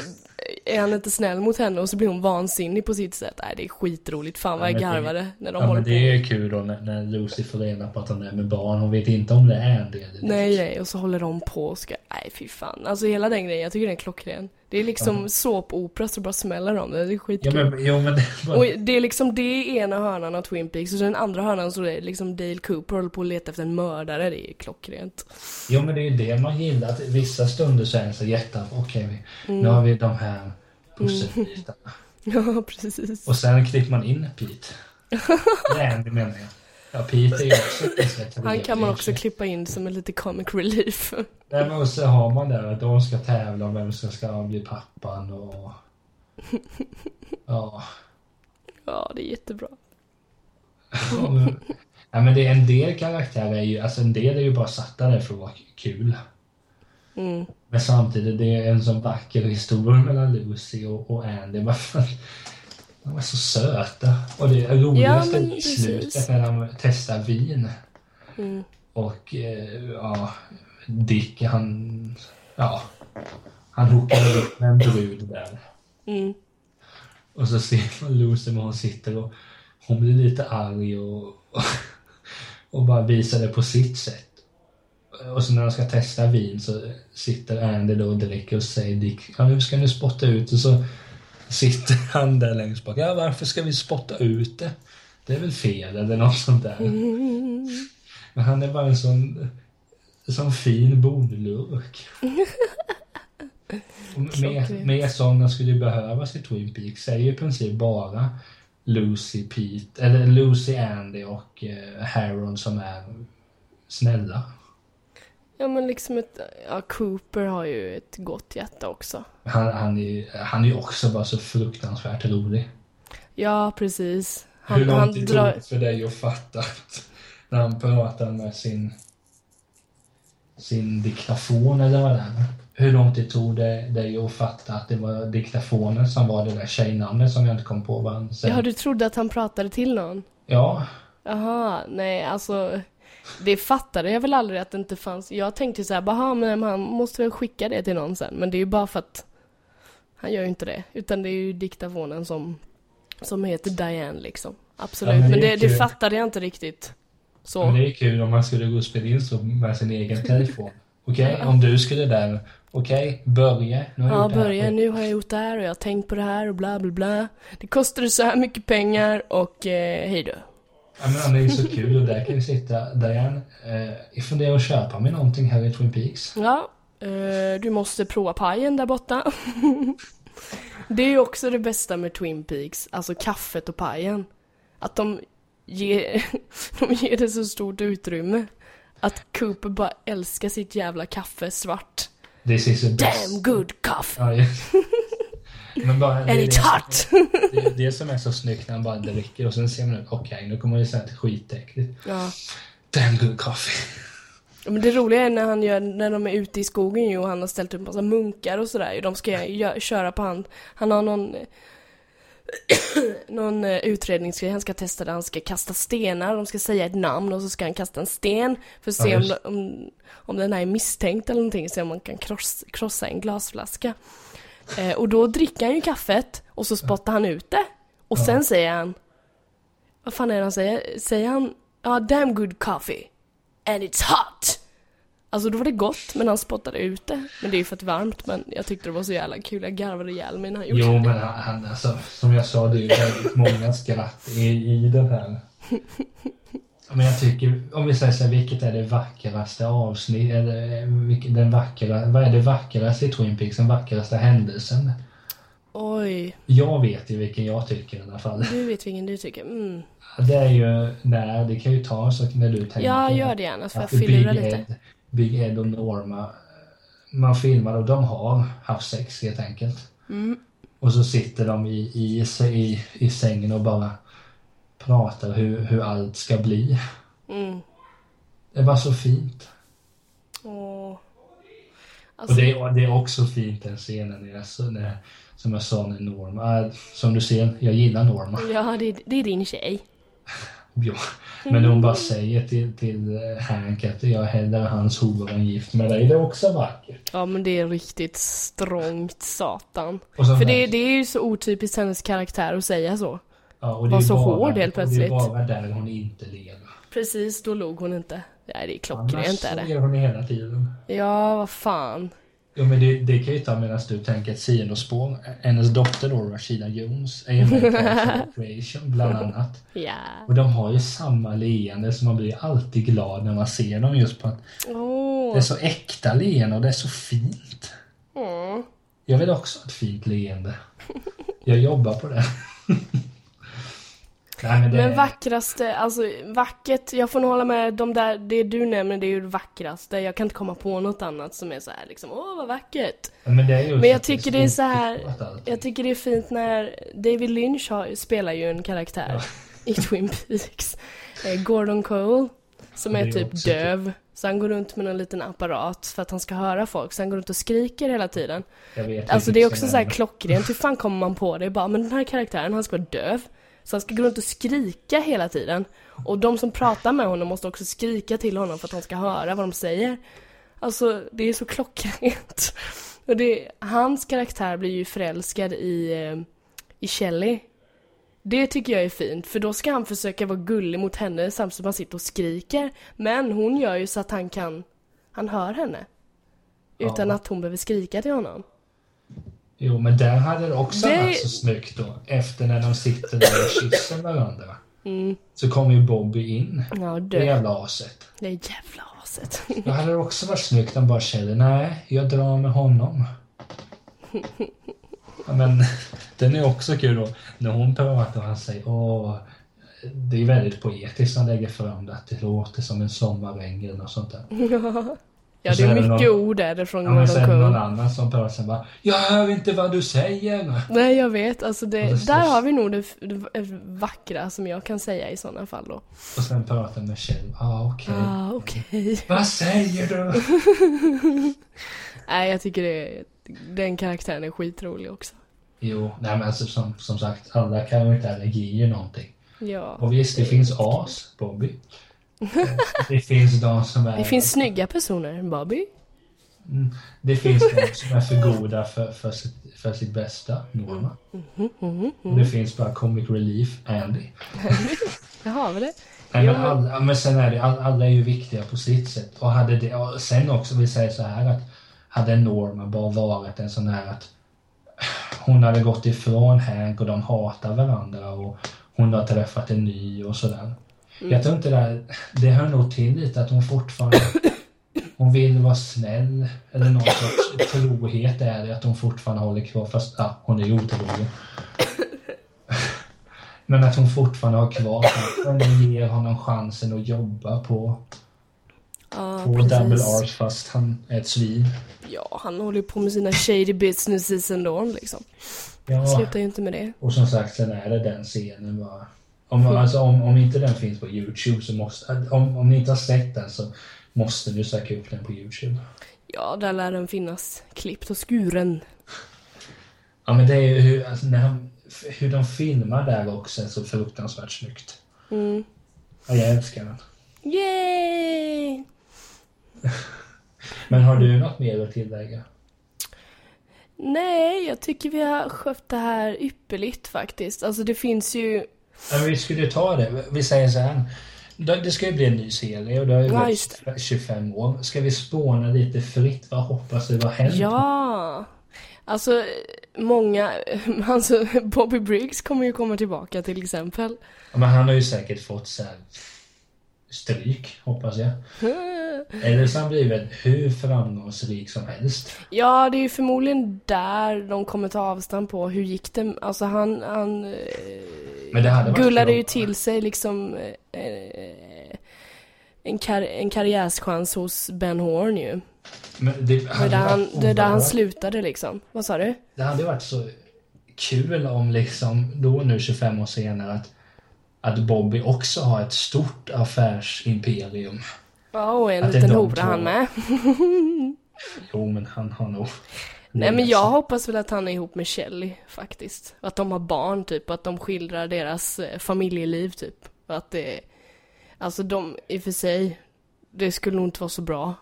[SPEAKER 2] är han inte snäll mot henne och så blir hon vansinnig på sitt sätt. Nej, det är skitroligt. Fan vad
[SPEAKER 1] Ja,
[SPEAKER 2] jag
[SPEAKER 1] men det-
[SPEAKER 2] garvade när de
[SPEAKER 1] Ja,
[SPEAKER 2] håller
[SPEAKER 1] men
[SPEAKER 2] på.
[SPEAKER 1] det är ju kul då när, när Lucy får reda på att hon är med barn. Hon vet inte om det är en del.
[SPEAKER 2] Nej, nej, och så håller de på och ska... Nej, fy fan. Alltså hela den grejen, jag tycker den är klockren. Det är liksom såpopera så bara smäller de. Det är
[SPEAKER 1] Ja,
[SPEAKER 2] skitkul.
[SPEAKER 1] men, jo, men det
[SPEAKER 2] Och
[SPEAKER 1] var...
[SPEAKER 2] det är liksom det i ena hörnan av Twin Peaks och den andra hörnan så är det liksom Dale Cooper håller på att leta efter en mördare. Det är klockrent.
[SPEAKER 1] jo, men det är ju det man gillar. Att
[SPEAKER 2] Mm.
[SPEAKER 1] vissa stunder så är det så jätte... Okej, vi- nu har vi de här pusselbitarna.
[SPEAKER 2] Ja, precis.
[SPEAKER 1] Och sen klipper man in Pete. Randy menar jag. Ja, Pete är ju också ganska trevlig.
[SPEAKER 2] Han kan man också
[SPEAKER 1] egentligen.
[SPEAKER 2] klippa in som en lite comic relief.
[SPEAKER 1] Nej men och så har man där att de ska tävla om vem som ska bli pappan och... Ja.
[SPEAKER 2] Ja, det är jättebra.
[SPEAKER 1] och- Nej men det är en del karaktärer är ju, alltså en del är ju bara satta där för att vara kul.
[SPEAKER 2] Mm.
[SPEAKER 1] Men samtidigt, det är en sån vacker historia mellan Lucy och, och Andy. Vad fan, De är så söta. Och det roligaste
[SPEAKER 2] Ja,
[SPEAKER 1] är
[SPEAKER 2] men
[SPEAKER 1] i
[SPEAKER 2] precis.
[SPEAKER 1] slutet när de testar vin.
[SPEAKER 2] Mm.
[SPEAKER 1] Och eh, ja, Dick han... Ja. Han hookar upp med en brud där.
[SPEAKER 2] Mm.
[SPEAKER 1] Och så ser man Lucy när hon sitter och hon blir lite arg och, och, bara visar det på sitt sätt. Och så när de ska testa vin så sitter Andy då och dricker och säger Dick, ja nu ska ni spotta ut och så sitter han där längst bak. Ja varför ska vi spotta ut det? Det är väl fel eller något sånt där. Men han är bara en sån, sån fin bondelurk. Och mer,
[SPEAKER 2] Klockrent.
[SPEAKER 1] mer sådana skulle ju behövas i Twin Peaks. Det är ju i princip bara Lucy, Pete, eller Lucy, Andy och eh, Harold som är snälla.
[SPEAKER 2] Ja, men liksom ett... Ja, Cooper har ju ett gott hjärta också.
[SPEAKER 1] Han, han, är, han är ju också bara så fruktansvärt rolig.
[SPEAKER 2] Ja, precis.
[SPEAKER 1] Hur
[SPEAKER 2] Han,
[SPEAKER 1] lång
[SPEAKER 2] han
[SPEAKER 1] tid
[SPEAKER 2] drar...
[SPEAKER 1] tog det för dig att fatta att när han pratar med sin sin diktafon eller vad det är? Hur lång tid tog det dig att fatta att det var diktafonen som var det där tjejnamnet som jag inte kom på vad han säger?
[SPEAKER 2] Ja, du trodde att han pratade till någon?
[SPEAKER 1] Ja,
[SPEAKER 2] Jaha, nej alltså. Det fattade jag väl aldrig att det inte fanns. Jag tänkte ju så här, "Baha, men han måste väl skicka det till någon sen. Men det är ju bara för att han gör ju inte det. Utan det är ju diktafonen som, som heter Diane liksom. Absolut,
[SPEAKER 1] Ja, men
[SPEAKER 2] men
[SPEAKER 1] det är
[SPEAKER 2] det, det
[SPEAKER 1] kul.
[SPEAKER 2] fattade jag inte riktigt.
[SPEAKER 1] men
[SPEAKER 2] Så.
[SPEAKER 1] det är kul om man skulle gå och spela in så med sin egen telefon. Okej, om du skulle där. Okej, börja. Nu har jag
[SPEAKER 2] Ja,
[SPEAKER 1] gjort det här.
[SPEAKER 2] börja nu har jag gjort det här och jag har tänkt på det här och bla bla bla. Det kostade så här mycket pengar och eh, hej då.
[SPEAKER 1] Ja, men han är ju så kul och där kan ju sitta Diane. Eh, jag funderar att köpa mig någonting här i Twin Peaks.
[SPEAKER 2] Ja, eh, du måste prova pajen där borta. det är ju också det bästa med Twin Peaks, alltså kaffet och pajen. Att de ger, de ger det så stort utrymme. Att Cooper bara älskar sitt jävla kaffe svart.
[SPEAKER 1] This is the best.
[SPEAKER 2] Damn good coffee!
[SPEAKER 1] Ja, just. Men bara, det,
[SPEAKER 2] And
[SPEAKER 1] är
[SPEAKER 2] it's hot!
[SPEAKER 1] det, det, är det som är så snyggt när han bara dricker och sen ser man ut, okej nu kommer det säga att det är skitäckligt.
[SPEAKER 2] ja.
[SPEAKER 1] Damn good coffee.
[SPEAKER 2] Men det roliga är när, han gör, när de är ute i skogen ju och han har ställt upp massa munkar och sådär ju. De ska gö- köra på han. Han har någon, eh, någon eh, utredningsgrej han ska testa där han ska kasta stenar. De ska säga ett namn och så ska han kasta en sten för att
[SPEAKER 1] Ja,
[SPEAKER 2] se om,
[SPEAKER 1] just.
[SPEAKER 2] de- om, om den här är misstänkt eller någonting. Se om man kan kross, krossa en glasflaska. Eh, och då dricker han ju kaffet och så spottar han ut det. Och
[SPEAKER 1] Ja.
[SPEAKER 2] sen säger han... Vad fan är det han säger? Säger han... Ja, damn good coffee. And it's hot! Alltså då var det gott, men han spottade ut det. Men det är ju för att det är varmt, men jag tyckte det var så jävla kul. Jag garvade ihjäl mig när han gjorde
[SPEAKER 1] Jo
[SPEAKER 2] det.
[SPEAKER 1] men han, han alltså, som jag sa det är ju väldigt många skratt i, i den här. Men jag tycker, om vi säger så här, vilket är det vackraste avsnitt, eller eh, vilk- den vackra, vad är det vackraste i Twin Peaks, den vackraste händelsen?
[SPEAKER 2] Oj,
[SPEAKER 1] Jag vet ju vilken jag tycker i alla fall.
[SPEAKER 2] du vet vilken du tycker. Mm.
[SPEAKER 1] Det är ju, nej, det kan ju ta en sak när du tänker.
[SPEAKER 2] Ja, gör det gärna, så får jag
[SPEAKER 1] att Big
[SPEAKER 2] filura lite.
[SPEAKER 1] Ed, Big Ed och Norma, man filmar och de har haft sex helt enkelt.
[SPEAKER 2] Mm.
[SPEAKER 1] Och så sitter de i, i, i, i sängen och bara pratar hur, hur allt ska bli.
[SPEAKER 2] Mm.
[SPEAKER 1] Det var så fint.
[SPEAKER 2] Åh.
[SPEAKER 1] Och
[SPEAKER 2] Alltså,
[SPEAKER 1] det, är- det är också fint den scenen när jag, så- när, som jag sa när Norma, äh, som du ser, jag gillar Norma.
[SPEAKER 2] ja, det, det är din tjej.
[SPEAKER 1] Ja, men hon bara säger till, till eh, Hank att jag hellre hans huvud än gift med dig. Det är också vackert.
[SPEAKER 2] Ja, men det är riktigt strångt satan.
[SPEAKER 1] Och så
[SPEAKER 2] För det, det är ju så otypiskt hennes karaktär att säga så.
[SPEAKER 1] Ja, och det
[SPEAKER 2] Var
[SPEAKER 1] är
[SPEAKER 2] så
[SPEAKER 1] bara-
[SPEAKER 2] hård helt plötsligt.
[SPEAKER 1] Och det är bara där hon inte lever.
[SPEAKER 2] Precis, då log hon inte. Nej, det är
[SPEAKER 1] Annars
[SPEAKER 2] klockrent
[SPEAKER 1] så
[SPEAKER 2] är det.
[SPEAKER 1] lever hon hela tiden.
[SPEAKER 2] Ja, vad fan.
[SPEAKER 1] Jo men det, det kan ju ta medan du tänker ett sidospår. Hennes dotter då, Rashida Jones, är ju med i Parks and Recreation bland annat.
[SPEAKER 2] Ja.
[SPEAKER 1] Och de har ju samma leende så man blir alltid glad när man ser dem just på att det
[SPEAKER 2] Åh.
[SPEAKER 1] är så äkta leende och det är så fint.
[SPEAKER 2] Mm.
[SPEAKER 1] Jag vill också ha ett fint leende. Jag jobbar på det. Nej, men det
[SPEAKER 2] Men vackraste, alltså vackert, jag får nog hålla med, de där, det du nämner det är ju det vackraste. Jag kan inte komma på något annat som är så här liksom, åh vad vackert.
[SPEAKER 1] men, det är just
[SPEAKER 2] Men jag
[SPEAKER 1] att
[SPEAKER 2] tycker det är så här,
[SPEAKER 1] storkulturat allting.
[SPEAKER 2] jag tycker det är fint när David Lynch har, spelar ju en karaktär i Twin Peaks. Eh, Gordon Cole, som
[SPEAKER 1] Ja, det
[SPEAKER 2] är
[SPEAKER 1] är också
[SPEAKER 2] typ
[SPEAKER 1] typ-
[SPEAKER 2] döv. Så han går runt med en liten apparat för att han ska höra folk, så han går runt och skriker hela tiden.
[SPEAKER 1] Jag vet
[SPEAKER 2] Alltså
[SPEAKER 1] inte
[SPEAKER 2] det är
[SPEAKER 1] vilken
[SPEAKER 2] också
[SPEAKER 1] den
[SPEAKER 2] så här klockrent, hur fan kommer man på det? Bara, men den här karaktären, han ska vara döv. Så han ska gå runt och skrika hela tiden. Och de som pratar med honom måste också skrika till honom för att han ska höra vad de säger. Alltså, det är så klockrent. Och det, hans karaktär blir ju förälskad i, eh, i Shelley. Det tycker jag är fint, för då ska han försöka vara gullig mot henne samtidigt som han sitter och skriker. Men hon gör ju så att han kan, han hör henne. Utan
[SPEAKER 1] Ja.
[SPEAKER 2] att hon behöver skrika till honom.
[SPEAKER 1] Jo, men där hade det också
[SPEAKER 2] Det-
[SPEAKER 1] varit så snyggt då. Efter när de sitter där och kysser varandra. Så kommer ju Bobby in.
[SPEAKER 2] Ja, Mm. du.
[SPEAKER 1] Det jävla aset.
[SPEAKER 2] Det är jävla aset.
[SPEAKER 1] Då hade det också varit snyggt om bara kände nej, jag drar med honom. Ja, men den är också kul då. När hon pratar och han säger åh, det är väldigt poetiskt han lägger fram det. Att det låter som en sommarregn eller något sånt där.
[SPEAKER 2] Mm, Ja,
[SPEAKER 1] Och
[SPEAKER 2] det
[SPEAKER 1] så är
[SPEAKER 2] är
[SPEAKER 1] det
[SPEAKER 2] mycket
[SPEAKER 1] någon-
[SPEAKER 2] ord där från
[SPEAKER 1] Ja, men
[SPEAKER 2] Gordon
[SPEAKER 1] sen någon
[SPEAKER 2] Cole.
[SPEAKER 1] annan som pratar sen bara jag hör inte vad du säger.
[SPEAKER 2] Nej, jag vet. Alltså det,
[SPEAKER 1] Och det
[SPEAKER 2] där
[SPEAKER 1] slåss.
[SPEAKER 2] har vi nog det, f- det vackra som jag kan säga i sådana fall då.
[SPEAKER 1] Och sen pratar med Kjell. Ja, ah, okej.
[SPEAKER 2] Ah, okej.
[SPEAKER 1] Vad säger du?
[SPEAKER 2] Nej, jag tycker det, den karaktären är skitrolig också.
[SPEAKER 1] Jo, nej men alltså, som, som sagt, alla kan ju inte allergier någonting.
[SPEAKER 2] Ja.
[SPEAKER 1] Och visst, det finns as, Bobby. Det finns de som är...
[SPEAKER 2] Det finns snygga personer, Bobby.
[SPEAKER 1] Mm, det finns de som är för goda för, för, sitt, för sitt bästa, Norma.
[SPEAKER 2] Mm,
[SPEAKER 1] Och det finns bara comic relief, Andy.
[SPEAKER 2] Det har vi det.
[SPEAKER 1] Nej, men,
[SPEAKER 2] Jo, men-
[SPEAKER 1] alla, ja, men sen är det, all- alla är ju viktiga på sitt sätt. Och hade det, och sen också, vi säger så här att hade Norma bara varit en sån här att hon hade gått ifrån Hank och de hatar varandra och hon har träffat en ny och sådär. Jag tror inte det här, det hör nog till lite att hon fortfarande hon vill vara snäll eller någon sorts trohet är det att hon fortfarande håller kvar fast ja, hon är ju otrogen. Men att hon fortfarande har kvar chansen, ger honom chansen att jobba på,
[SPEAKER 2] Ja,
[SPEAKER 1] på Double
[SPEAKER 2] precis.
[SPEAKER 1] R's fast han är ett svin.
[SPEAKER 2] Ja, han håller ju på med sina shady businesses ändå liksom.
[SPEAKER 1] Ja,
[SPEAKER 2] Slutar ju inte med det.
[SPEAKER 1] och som sagt sen är det den scenen bara. Om,
[SPEAKER 2] Mm.
[SPEAKER 1] alltså, om, om inte den finns på Youtube så måste, om, om ni inte har sett den så måste ni söka upp den på Youtube.
[SPEAKER 2] Ja, där lär den finnas. Klippt och skuren.
[SPEAKER 1] Ja men det är ju hur, alltså, när han, hur de filmar där också är så fruktansvärt snyggt.
[SPEAKER 2] Mm.
[SPEAKER 1] Ja, jag älskar den.
[SPEAKER 2] Yay!
[SPEAKER 1] Men har
[SPEAKER 2] Mm.
[SPEAKER 1] du något mer att tillägga?
[SPEAKER 2] Nej, jag tycker vi har skött det här ypperligt faktiskt. Alltså det finns ju...
[SPEAKER 1] Ja, men vi skulle ta det. Vi säger så här. Då- Det ska ju bli en ny serie och det har ju
[SPEAKER 2] Ja,
[SPEAKER 1] gått
[SPEAKER 2] just
[SPEAKER 1] 25 år. Ska vi spåna lite fritt? Vad hoppas vi? Vad händer?
[SPEAKER 2] Ja! Alltså, många... Alltså, Bobby Briggs kommer ju komma tillbaka till exempel.
[SPEAKER 1] Ja, Men han har ju säkert fått så här stryk, hoppas jag. Eller så har han blivit hur framgångsrik som helst.
[SPEAKER 2] Ja, det är ju förmodligen där de kommer ta avstamp på hur gick det... Alltså han... han eh,
[SPEAKER 1] Men det hade varit
[SPEAKER 2] gullade
[SPEAKER 1] kul
[SPEAKER 2] ju
[SPEAKER 1] om-
[SPEAKER 2] till sig liksom... Eh, en, kar- en karriärschans hos Ben Horn ju.
[SPEAKER 1] Men det,
[SPEAKER 2] Det är
[SPEAKER 1] hade
[SPEAKER 2] där han,
[SPEAKER 1] varit
[SPEAKER 2] det är där han
[SPEAKER 1] oerhört-
[SPEAKER 2] slutade liksom. Vad sa du?
[SPEAKER 1] Det hade varit så kul om liksom då nu 25 år senare att, att Bobby också har ett stort affärsimperium.
[SPEAKER 2] Ja, och en
[SPEAKER 1] Att det är
[SPEAKER 2] liten
[SPEAKER 1] de
[SPEAKER 2] hora
[SPEAKER 1] två.
[SPEAKER 2] han med.
[SPEAKER 1] Jo, men han har nog...
[SPEAKER 2] Nej men jag
[SPEAKER 1] alltså.
[SPEAKER 2] hoppas väl att han är ihop med Shelley faktiskt. Att de har barn typ, och att de skildrar deras eh, familjeliv typ. Och att det, alltså de i och för sig, det skulle nog inte vara så bra.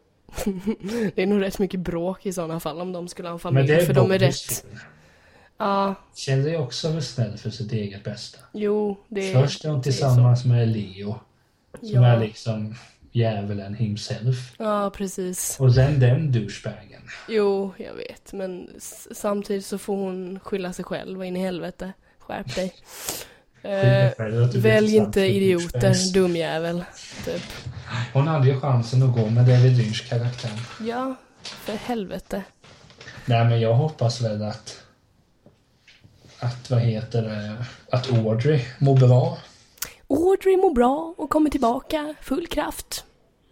[SPEAKER 2] det är nog rätt mycket bråk i sådana fall om de skulle ha en
[SPEAKER 1] Men
[SPEAKER 2] familj,
[SPEAKER 1] det är
[SPEAKER 2] för de är
[SPEAKER 1] Bobbys
[SPEAKER 2] rätt.
[SPEAKER 1] fel.
[SPEAKER 2] Ja,
[SPEAKER 1] Kjell är också väl snäll för sitt eget bästa.
[SPEAKER 2] jo, det
[SPEAKER 1] Först är hon tillsammans med Leo, som
[SPEAKER 2] Ja.
[SPEAKER 1] är liksom djävulen himself.
[SPEAKER 2] Ja, precis.
[SPEAKER 1] Och sen den douchebagen.
[SPEAKER 2] Jo, jag vet, men s- samtidigt så får hon skylla sig själv och in i helvete. Skärp dig. Eh, Välj inte idioter, dumjävel. Typ.
[SPEAKER 1] Hon hade ju chansen att gå med David Lynch karaktär.
[SPEAKER 2] Ja, för helvete.
[SPEAKER 1] Nej, men jag hoppas väl att... att, vad heter det, att Audrey mår bra.
[SPEAKER 2] Audrey mår bra och kommer tillbaka full kraft.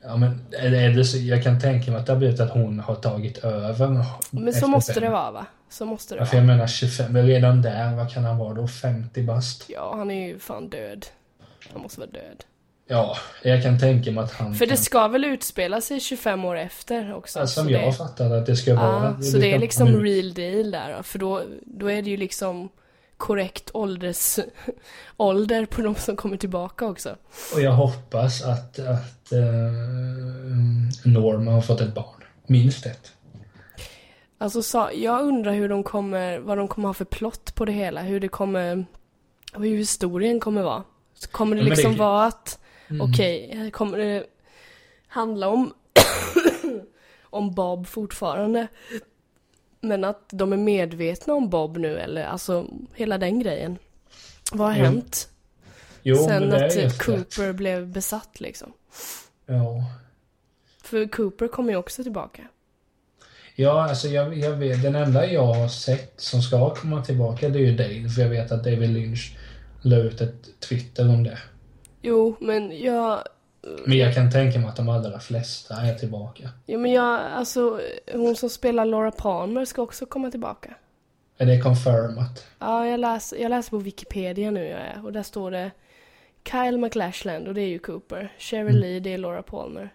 [SPEAKER 1] Ja, men är det, är det så, jag kan tänka mig att det har blivit att hon har tagit över.
[SPEAKER 2] Men så
[SPEAKER 1] Mm. efter Alltså,
[SPEAKER 2] måste
[SPEAKER 1] Ben.
[SPEAKER 2] det vara va? Så måste det
[SPEAKER 1] Ja, för
[SPEAKER 2] vara.
[SPEAKER 1] jag menar 25, men redan där, vad kan han vara då? 50 bast?
[SPEAKER 2] Ja, han är ju fan död. Han måste vara död.
[SPEAKER 1] Ja, jag kan tänka mig att han...
[SPEAKER 2] För det
[SPEAKER 1] kan,
[SPEAKER 2] ska väl utspela sig 25 år efter också?
[SPEAKER 1] Mm. Ja, som
[SPEAKER 2] så
[SPEAKER 1] jag
[SPEAKER 2] det,
[SPEAKER 1] fattade att det ska vara.
[SPEAKER 2] ah, så det är liksom
[SPEAKER 1] nu-
[SPEAKER 2] real deal där då, För då, då är det ju liksom korrekt ålders, ålder på de som kommer tillbaka också.
[SPEAKER 1] Och jag hoppas att, att eh, Norma har fått ett barn. Minst ett.
[SPEAKER 2] Alltså sa, jag undrar hur de kommer, vad de kommer ha för plott på det hela, hur det kommer, och hur historien kommer vara. Så kommer det
[SPEAKER 1] Ja, men det- Mm.
[SPEAKER 2] liksom vara att, okej, här kommer det handla om, om Bob fortfarande? Men att de är medvetna om Bob nu eller, alltså hela den grejen. Vad har
[SPEAKER 1] Jo,
[SPEAKER 2] hänt
[SPEAKER 1] Jo, men
[SPEAKER 2] sen
[SPEAKER 1] det
[SPEAKER 2] att
[SPEAKER 1] är
[SPEAKER 2] typ
[SPEAKER 1] just
[SPEAKER 2] Cooper blev besatt liksom?
[SPEAKER 1] det. Ja.
[SPEAKER 2] För Cooper kommer ju också tillbaka.
[SPEAKER 1] Ja, alltså jag, jag vet, den enda jag har sett som ska komma tillbaka det är ju Dale, för jag vet att David Lynch la ut ett Twitter om det.
[SPEAKER 2] Jo, men jag,
[SPEAKER 1] Men jag kan tänka mig att de allra flesta är tillbaka.
[SPEAKER 2] Ja men jag, alltså hon som spelar Laura Palmer ska också komma tillbaka.
[SPEAKER 1] Är det confirmat?
[SPEAKER 2] Ja, jag läser, jag läser på Wikipedia nu jag är, och där står det Kyle McLashland och det är ju Cooper. Cheryl Lee, det är Laura Palmer.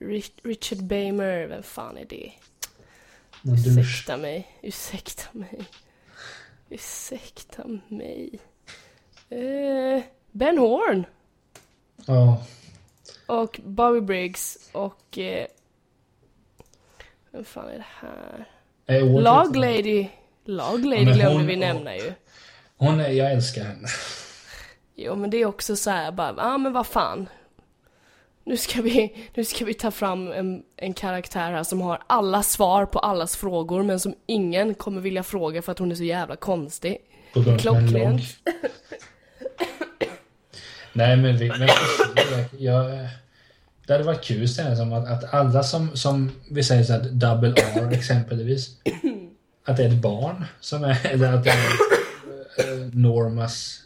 [SPEAKER 2] Rich, Richard Bamer, vem fan är det?
[SPEAKER 1] Någon dusch?
[SPEAKER 2] Ursäkta mig, ursäkta mig. Ursäkta mig. Eh, ben Horn
[SPEAKER 1] Ja.
[SPEAKER 2] och Bobby Briggs och... Eh, vem fan är det här?
[SPEAKER 1] Är Audrey-
[SPEAKER 2] Log Lady. Log Lady
[SPEAKER 1] men
[SPEAKER 2] glömde
[SPEAKER 1] hon-
[SPEAKER 2] vi nämna ju.
[SPEAKER 1] Hon är, jag älskar henne.
[SPEAKER 2] Jo men det är också så här bara, ja ah, men vad fan. Nu ska vi, nu ska vi ta fram en, en karaktär här som har alla svar på allas frågor men som ingen kommer vilja fråga för att hon är så jävla konstig.
[SPEAKER 1] På grund av en
[SPEAKER 2] Klockrent.
[SPEAKER 1] logg. Nej, men, vi, men jag, det hade varit kul så här, som att, att alla som, som vi säger så att double R exempelvis, att det är ett barn som är, eller att det är eh, Normas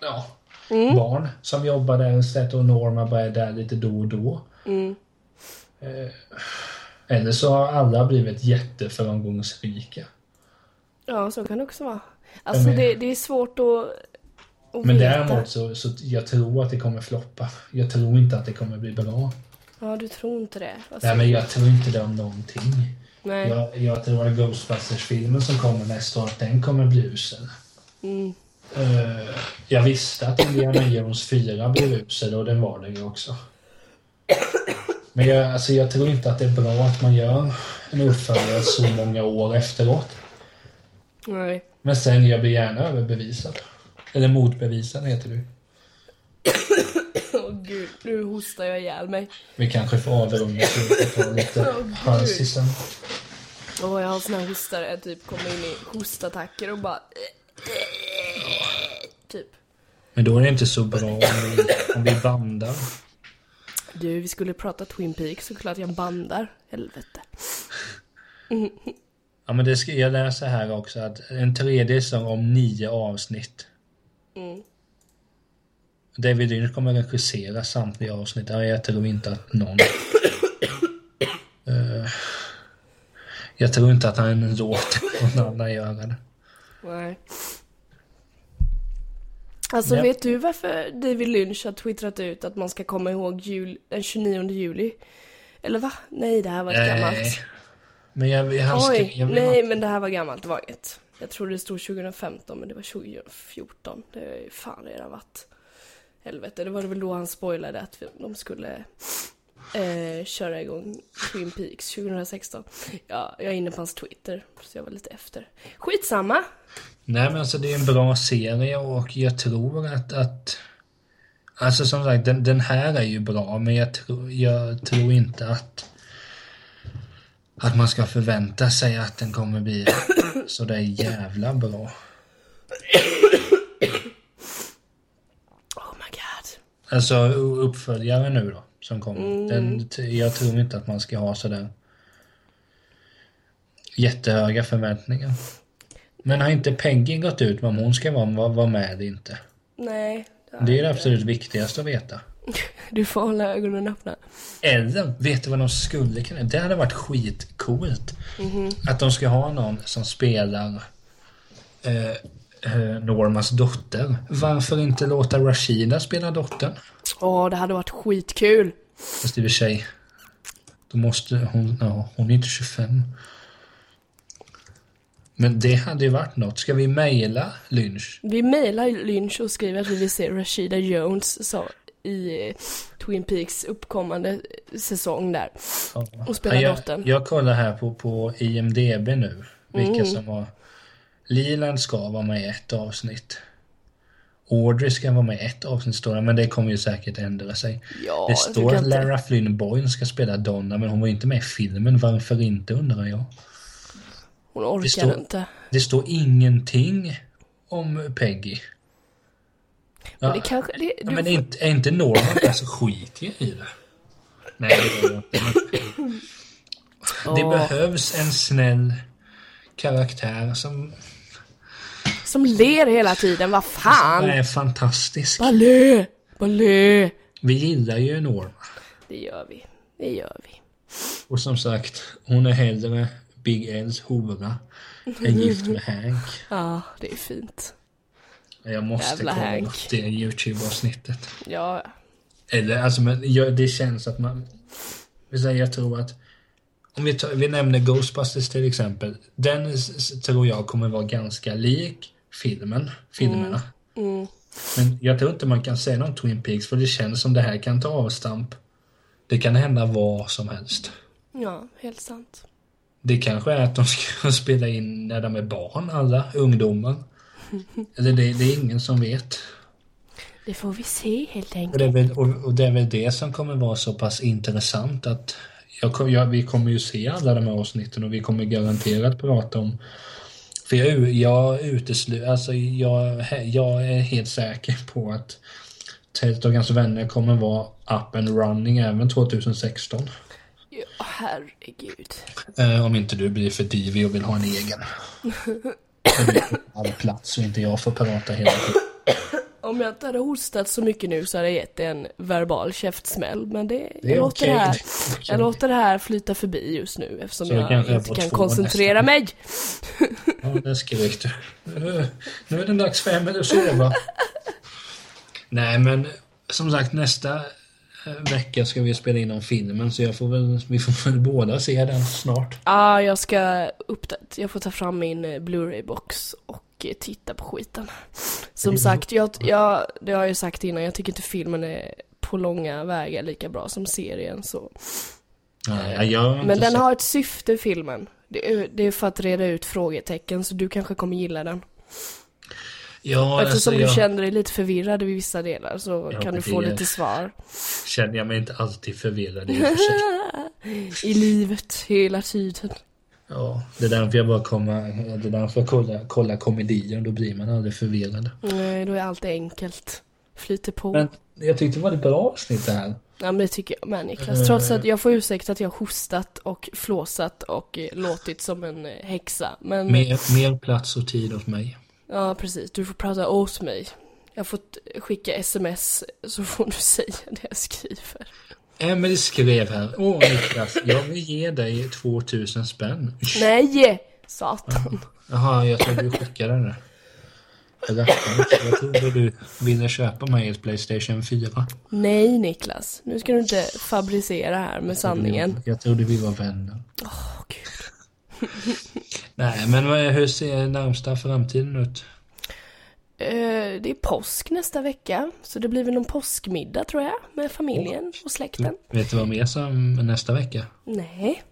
[SPEAKER 1] ja, barn som jobbar där istället och Norma bara är där lite då och då. Eh, Eller så har alla blivit jätteframgångsrika.
[SPEAKER 2] Ja så kan det också vara. Alltså
[SPEAKER 1] Men-
[SPEAKER 2] det, det är svårt att, att
[SPEAKER 1] Men
[SPEAKER 2] veta.
[SPEAKER 1] däremot så, så jag tror att det kommer floppa. Jag tror inte att det kommer bli bra.
[SPEAKER 2] Ja du tror inte det? Alltså,
[SPEAKER 1] Nej, men jag tror inte det om någonting.
[SPEAKER 2] nej.
[SPEAKER 1] Jag, jag tror att Ghostbusters-filmen som kommer nästa år, att den kommer bli usel.
[SPEAKER 2] Mm.
[SPEAKER 1] Eh, jag visste att Indiana Jones 4 blev usel och den var det ju också. Men jag, alltså, jag tror inte att det är bra att man gör en uppföljare så många år efteråt.
[SPEAKER 2] nej.
[SPEAKER 1] Men sen, jag blir gärna överbevisad. Eller motbevisad heter det ju.
[SPEAKER 2] Åh gud, nu hostar jag ihjäl mig.
[SPEAKER 1] Vi kanske får avrunda slutet och ta lite halsig sen.
[SPEAKER 2] Åh, jag har såna här hostar där jag typ kommer in i hostattacker och bara... Typ.
[SPEAKER 1] Men då är det inte så bra om vi, om vi bandar.
[SPEAKER 2] Du, vi skulle prata Twin Peaks såklart jag bandar. Helvete.
[SPEAKER 1] Ja, men det ska, jag läser här också att en tredje säsong om nio avsnitt.
[SPEAKER 2] Mm.
[SPEAKER 1] David Lynch kommer regissera samtliga avsnitt. Ja, Jag tror inte att någon... Eh, jag tror inte att han låter någon annan göra det.
[SPEAKER 2] Nej. Alltså
[SPEAKER 1] Ja.
[SPEAKER 2] vet du varför David Lynch har twittrat ut att man ska komma ihåg jul, den 29 juli? Eller va? Nej, det här var
[SPEAKER 1] Eh.
[SPEAKER 2] ett gammalt.
[SPEAKER 1] Men jag, han skrev...
[SPEAKER 2] Oj,
[SPEAKER 1] Jag,
[SPEAKER 2] nej men det här var gammalt, det var inget. Jag trodde det stod 2015 men det var 2014. Det är ju fan redan varit helvete. Det var väl då han spoilade att vi- de skulle eh, köra igång Twin Peaks 2016. Ja, jag är inne på hans Twitter så jag var lite efter. Skitsamma!
[SPEAKER 1] Nej men alltså det är en bra serie och jag tror att, att Alltså som sagt den, den här är ju bra men jag, tro, jag tror inte att Att man ska förvänta sig att den kommer bli så där jävla bra.
[SPEAKER 2] Oh my god.
[SPEAKER 1] Alltså u- uppföljaren nu då som kommer. Den, t- jag tror inte att man ska ha sådär Jättehöga förväntningar. Men har inte Peggy gått ut med om hon ska vara, vara vara med eller inte?
[SPEAKER 2] Nej.
[SPEAKER 1] Det är det absolut viktigaste att veta.
[SPEAKER 2] Du får hålla ögonen öppna.
[SPEAKER 1] Eller, vet du vad de skulle kunna Det hade varit skitcoolt. Att de ska ha någon som spelar eh, eh, Normas dotter. Varför inte låta Rashida spela dottern?
[SPEAKER 2] Åh, det hade varit skitkul.
[SPEAKER 1] Fast i och för sig. Då måste hon, ja, hon är inte 25. Men det hade ju varit något. Ska vi mejla Lynch?
[SPEAKER 2] Vi mejlar Lynch och skriver att vi vill se Rashida Jones så, i eh, Twin Peaks uppkommande eh, säsong där.
[SPEAKER 1] Ja.
[SPEAKER 2] Och spela
[SPEAKER 1] jag,
[SPEAKER 2] dottern.
[SPEAKER 1] jag kollar här på, på IMDB nu. Vilka
[SPEAKER 2] Mm.
[SPEAKER 1] som har... Liland ska vara med i ett avsnitt. Audrey ska vara med i ett avsnitt står det, men det kommer ju säkert ändra sig.
[SPEAKER 2] Ja,
[SPEAKER 1] det
[SPEAKER 2] jag
[SPEAKER 1] står
[SPEAKER 2] tycker
[SPEAKER 1] att
[SPEAKER 2] inte-
[SPEAKER 1] Lara Flynn Boyne ska spela Donna, men hon var ju inte med i filmen. Varför inte undrar jag.
[SPEAKER 2] Hon orkar
[SPEAKER 1] står-
[SPEAKER 2] inte.
[SPEAKER 1] Det står ingenting om Peggy.
[SPEAKER 2] Men
[SPEAKER 1] Ja.
[SPEAKER 2] det kanske... Det, du,
[SPEAKER 1] Ja, men är inte, är inte Norman där så skiter jag i det. Nej, det, är det inte.
[SPEAKER 2] Åh,
[SPEAKER 1] det behövs en snäll karaktär som,
[SPEAKER 2] Som ler hela tiden, vad
[SPEAKER 1] som
[SPEAKER 2] fan!
[SPEAKER 1] är fantastisk.
[SPEAKER 2] Bara le! Bara le!
[SPEAKER 1] Vi gillar ju Norman.
[SPEAKER 2] Det gör vi. Det gör vi.
[SPEAKER 1] Och som sagt, hon är hellre Big L's hora än gift med Hank.
[SPEAKER 2] Ja, det är fint.
[SPEAKER 1] Jag måste
[SPEAKER 2] Jävla
[SPEAKER 1] kolla
[SPEAKER 2] Hank.
[SPEAKER 1] upp det YouTube-avsnittet.
[SPEAKER 2] Ja, ja.
[SPEAKER 1] Eller alltså, men jag, det känns att man... vi säger, Jag tror att... Om vi, tar, vi nämner Ghostbusters till exempel. Den s- s- tror jag kommer vara ganska lik filmen, filmerna. Men jag tror inte man kan säga någon Twin Peaks för det känns som det här kan ta avstamp. Det kan hända vad som helst.
[SPEAKER 2] ja, helt sant.
[SPEAKER 1] Det kanske är att de ska spela in när de är barn, alla ungdomar. Eller det, det är ingen som vet.
[SPEAKER 2] Det får vi se helt
[SPEAKER 1] Och
[SPEAKER 2] enkelt.
[SPEAKER 1] det, är väl, och, och det är väl det som kommer vara så pass intressant att jag, kom- jag, vi kommer ju se alla de här avsnitten och vi kommer garanterat prata om för jag, u- jag utesluter, alltså jag, jag är helt säker på att Tält och hans vänner kommer vara up and running även 2016.
[SPEAKER 2] Ja, herregud.
[SPEAKER 1] Eh, om inte du blir för divig och vill ha en egen. Och du får All plats och inte jag får prata hela tiden.
[SPEAKER 2] Om jag inte hade hostat så mycket nu så hade jag gett det en verbal käftsmäll, men det,
[SPEAKER 1] Det är
[SPEAKER 2] jag, låter
[SPEAKER 1] okej.
[SPEAKER 2] det
[SPEAKER 1] Det
[SPEAKER 2] här,
[SPEAKER 1] är okej.
[SPEAKER 2] jag låter det här flyta förbi just nu eftersom
[SPEAKER 1] Så det
[SPEAKER 2] jag,
[SPEAKER 1] kanske är
[SPEAKER 2] inte
[SPEAKER 1] på
[SPEAKER 2] kan
[SPEAKER 1] två
[SPEAKER 2] koncentrera
[SPEAKER 1] nästa.
[SPEAKER 2] mig.
[SPEAKER 1] Ja, det skrek du. Nu- Nu är det dags för Emil att sova. Nej, men som sagt nästa eh, vecka ska vi spela in om filmen så jag får väl, vi får väl båda se den snart.
[SPEAKER 2] Ja, jag ska uppdatera, jag får ta fram min eh, Blu-ray-box och eh, titta på skiten. Som sagt, jag, jag, det har jag ju sagt innan, jag tycker inte filmen är på långa vägar lika bra som serien så.
[SPEAKER 1] Nej, jag har
[SPEAKER 2] Men
[SPEAKER 1] inte
[SPEAKER 2] den
[SPEAKER 1] sett-
[SPEAKER 2] har ett syfte, filmen. Det är, det är för att reda ut frågetecken, så du kanske kommer gilla den.
[SPEAKER 1] ja, alltså,
[SPEAKER 2] Eftersom du
[SPEAKER 1] jag
[SPEAKER 2] känner dig lite förvirrad i vissa delar så
[SPEAKER 1] Ja,
[SPEAKER 2] kan du
[SPEAKER 1] det
[SPEAKER 2] få
[SPEAKER 1] är-
[SPEAKER 2] lite svar.
[SPEAKER 1] känner jag mig inte alltid förvirrad i och för sig.
[SPEAKER 2] I livet, hela tiden.
[SPEAKER 1] Ja, det är därför jag bara kommer, det är därför jag kollar, kollar komedier, då blir man aldrig förvirrad.
[SPEAKER 2] Nej, då är allt enkelt. Flyter på.
[SPEAKER 1] Men jag tyckte det var ett bra avsnitt det här.
[SPEAKER 2] Ja men det tycker jag med Niklas. Trots att jag får ursäkta att jag har hostat och flåsat och eh, låtit som en eh, häxa. Men
[SPEAKER 1] Mer, mer plats och tid åt mig.
[SPEAKER 2] ja precis, du får prata åt mig. Jag har fått eh, skicka sms så får du säga det jag skriver.
[SPEAKER 1] Emily skrev här. Åh Niklas, jag vill ge dig 2000 spänn.
[SPEAKER 2] Nej! Satan.
[SPEAKER 1] Jaha, jag trodde du skickade det. Eller, jag trodde du ville köpa mig ett Playstation 4.
[SPEAKER 2] Nej Niklas, nu ska du inte fabricera här med sanningen.
[SPEAKER 1] Jag trodde vi var vänner.
[SPEAKER 2] Åh gud.
[SPEAKER 1] Nej, men vad- hur ser närmsta framtiden ut?
[SPEAKER 2] Eh, det är påsk nästa vecka, så det blir väl någon påskmiddag tror jag, med familjen och släkten.
[SPEAKER 1] Vet du vad mer som nästa vecka?
[SPEAKER 2] Nej.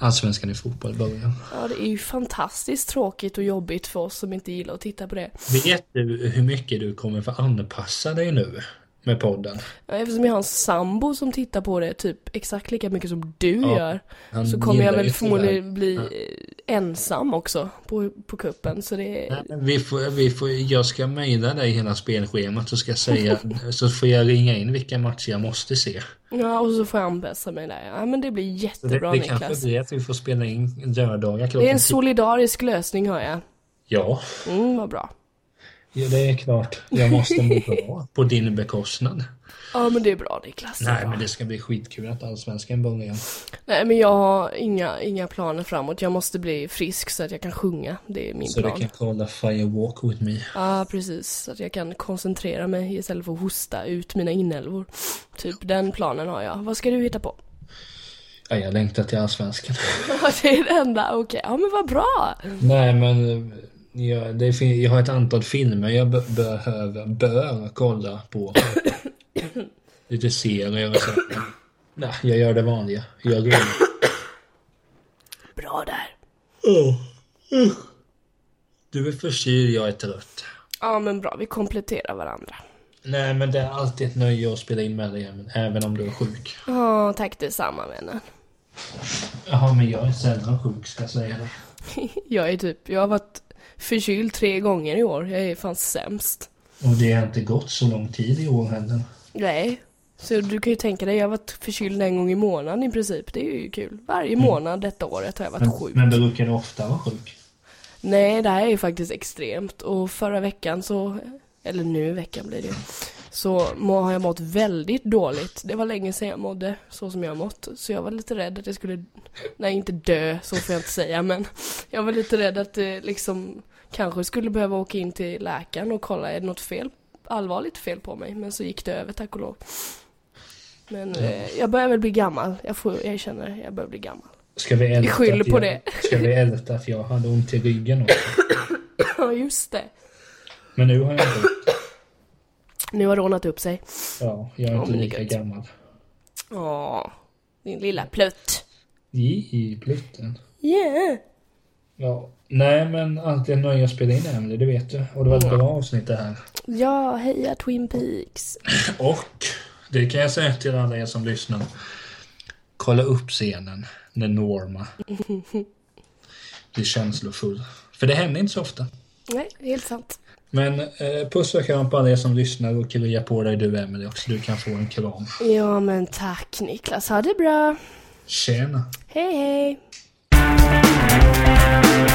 [SPEAKER 1] Allsvenskan i fotboll börjar.
[SPEAKER 2] Ja, det är ju fantastiskt tråkigt och jobbigt för oss som inte gillar att titta på det.
[SPEAKER 1] Vet du hur mycket du kommer få anpassa dig nu med podden?
[SPEAKER 2] Eftersom jag har en sambo som tittar på det typ exakt lika mycket som du
[SPEAKER 1] Ja,
[SPEAKER 2] gör
[SPEAKER 1] han
[SPEAKER 2] så kommer jag
[SPEAKER 1] gillar
[SPEAKER 2] väl
[SPEAKER 1] ju
[SPEAKER 2] förmodligen bli eh, ensam också på, på kuppen. Så det
[SPEAKER 1] Nej, men Vi får, vi får, jag ska mejla dig hela spelschemat och ska säga, så får jag ringa in vilka matcher jag måste se.
[SPEAKER 2] Ja, och så får jag anpassa mig där. Ja, men det blir
[SPEAKER 1] Det,
[SPEAKER 2] jättebra
[SPEAKER 1] det kanske
[SPEAKER 2] Niklas.
[SPEAKER 1] blir att vi får spela in lördagar
[SPEAKER 2] Det är
[SPEAKER 1] klockan
[SPEAKER 2] en
[SPEAKER 1] tio.
[SPEAKER 2] solidarisk lösning hör jag.
[SPEAKER 1] Ja,
[SPEAKER 2] Mm, vad bra.
[SPEAKER 1] ja det är klart. Jag måste må bra på din bekostnad.
[SPEAKER 2] Ja men det är bra Niklas.
[SPEAKER 1] Nej,
[SPEAKER 2] bra.
[SPEAKER 1] men det ska bli skitkul att allsvenskan börjar igen.
[SPEAKER 2] Nej men jag har inga, inga planer framåt. Jag måste bli frisk så att jag kan sjunga. Det är min
[SPEAKER 1] Så du
[SPEAKER 2] plan.
[SPEAKER 1] kan
[SPEAKER 2] Ja
[SPEAKER 1] kolla Fire Walk With Me.
[SPEAKER 2] precis, så att jag kan koncentrera mig istället för att hosta ut mina inälvor. Typ den planen har jag. Vad ska du hitta på?
[SPEAKER 1] Ja, jag längtar till allsvenskan.
[SPEAKER 2] Ja det är det enda, okej. Ja men vad bra!
[SPEAKER 1] Nej, men eh, jag, det fin- jag har ett antal filmer jag be- behöver, bör kolla på. Lite serier och så. Nej, jag gör det vanliga. Jag gör det.
[SPEAKER 2] Bra där.
[SPEAKER 1] Du är förkyld, jag är trött.
[SPEAKER 2] Ja men bra, vi kompletterar varandra.
[SPEAKER 1] Nej, men det är alltid ett nöje att spela in med dig, men även om du är sjuk.
[SPEAKER 2] Ja, tack detsamma vännen.
[SPEAKER 1] Jaha, men jag är sällan sjuk, ska jag säga det.
[SPEAKER 2] Jag är typ, jag har varit förkyld tre gånger i år. Jag är fan sämst.
[SPEAKER 1] Och det har inte gått så lång tid i år heller.
[SPEAKER 2] Nej. Så du kan ju tänka dig, jag har varit förkyld en gång i månaden i princip. Det är ju kul. Varje månad detta året har jag varit sjuk.
[SPEAKER 1] Men brukar du ofta vara sjuk?
[SPEAKER 2] Nej, det här är ju faktiskt extremt. Och förra veckan så, eller nu i veckan blir det ju, så må, har jag mått väldigt dåligt. Det var länge sedan jag mådde så som jag har mått. Så jag var lite rädd att jag skulle, nej inte dö, så får jag inte säga, men jag var lite rädd att det liksom kanske skulle behöva åka in till läkaren och kolla, är det något fel, allvarligt fel på mig? Men så gick det över, tack och lov. Men eh, jag börjar väl bli gammal, jag, får, jag känner, jag börjar bli gammal.
[SPEAKER 1] Ska vi älta
[SPEAKER 2] Skyll
[SPEAKER 1] att
[SPEAKER 2] på
[SPEAKER 1] jag,
[SPEAKER 2] det.
[SPEAKER 1] Ska vi älta att jag hade ont i ryggen också?
[SPEAKER 2] Ja, just det.
[SPEAKER 1] Men nu har jag inte ont.
[SPEAKER 2] Nu har det ordnat upp sig.
[SPEAKER 1] Ja, jag är
[SPEAKER 2] Ja,
[SPEAKER 1] inte
[SPEAKER 2] men det är
[SPEAKER 1] lika
[SPEAKER 2] gött.
[SPEAKER 1] gammal.
[SPEAKER 2] Ja, din lilla plutt.
[SPEAKER 1] I, i plutten.
[SPEAKER 2] Yeah.
[SPEAKER 1] Ja. Nej, men alltid ett nöje att spela in Emelie, det vet du. Och det var ett bra avsnitt det här.
[SPEAKER 2] Ja, heja Twin Peaks.
[SPEAKER 1] Och det kan jag säga till alla er som lyssnar. Kolla upp scenen när Norma blir känslofull. För det händer inte så ofta.
[SPEAKER 2] Nej, helt sant.
[SPEAKER 1] Men eh, puss och kram på alla er som lyssnar och krya på dig du Emelie också. Du kan få en kram.
[SPEAKER 2] Ja, men tack Niklas. Ha det bra.
[SPEAKER 1] Tjena!
[SPEAKER 2] Hej, hej.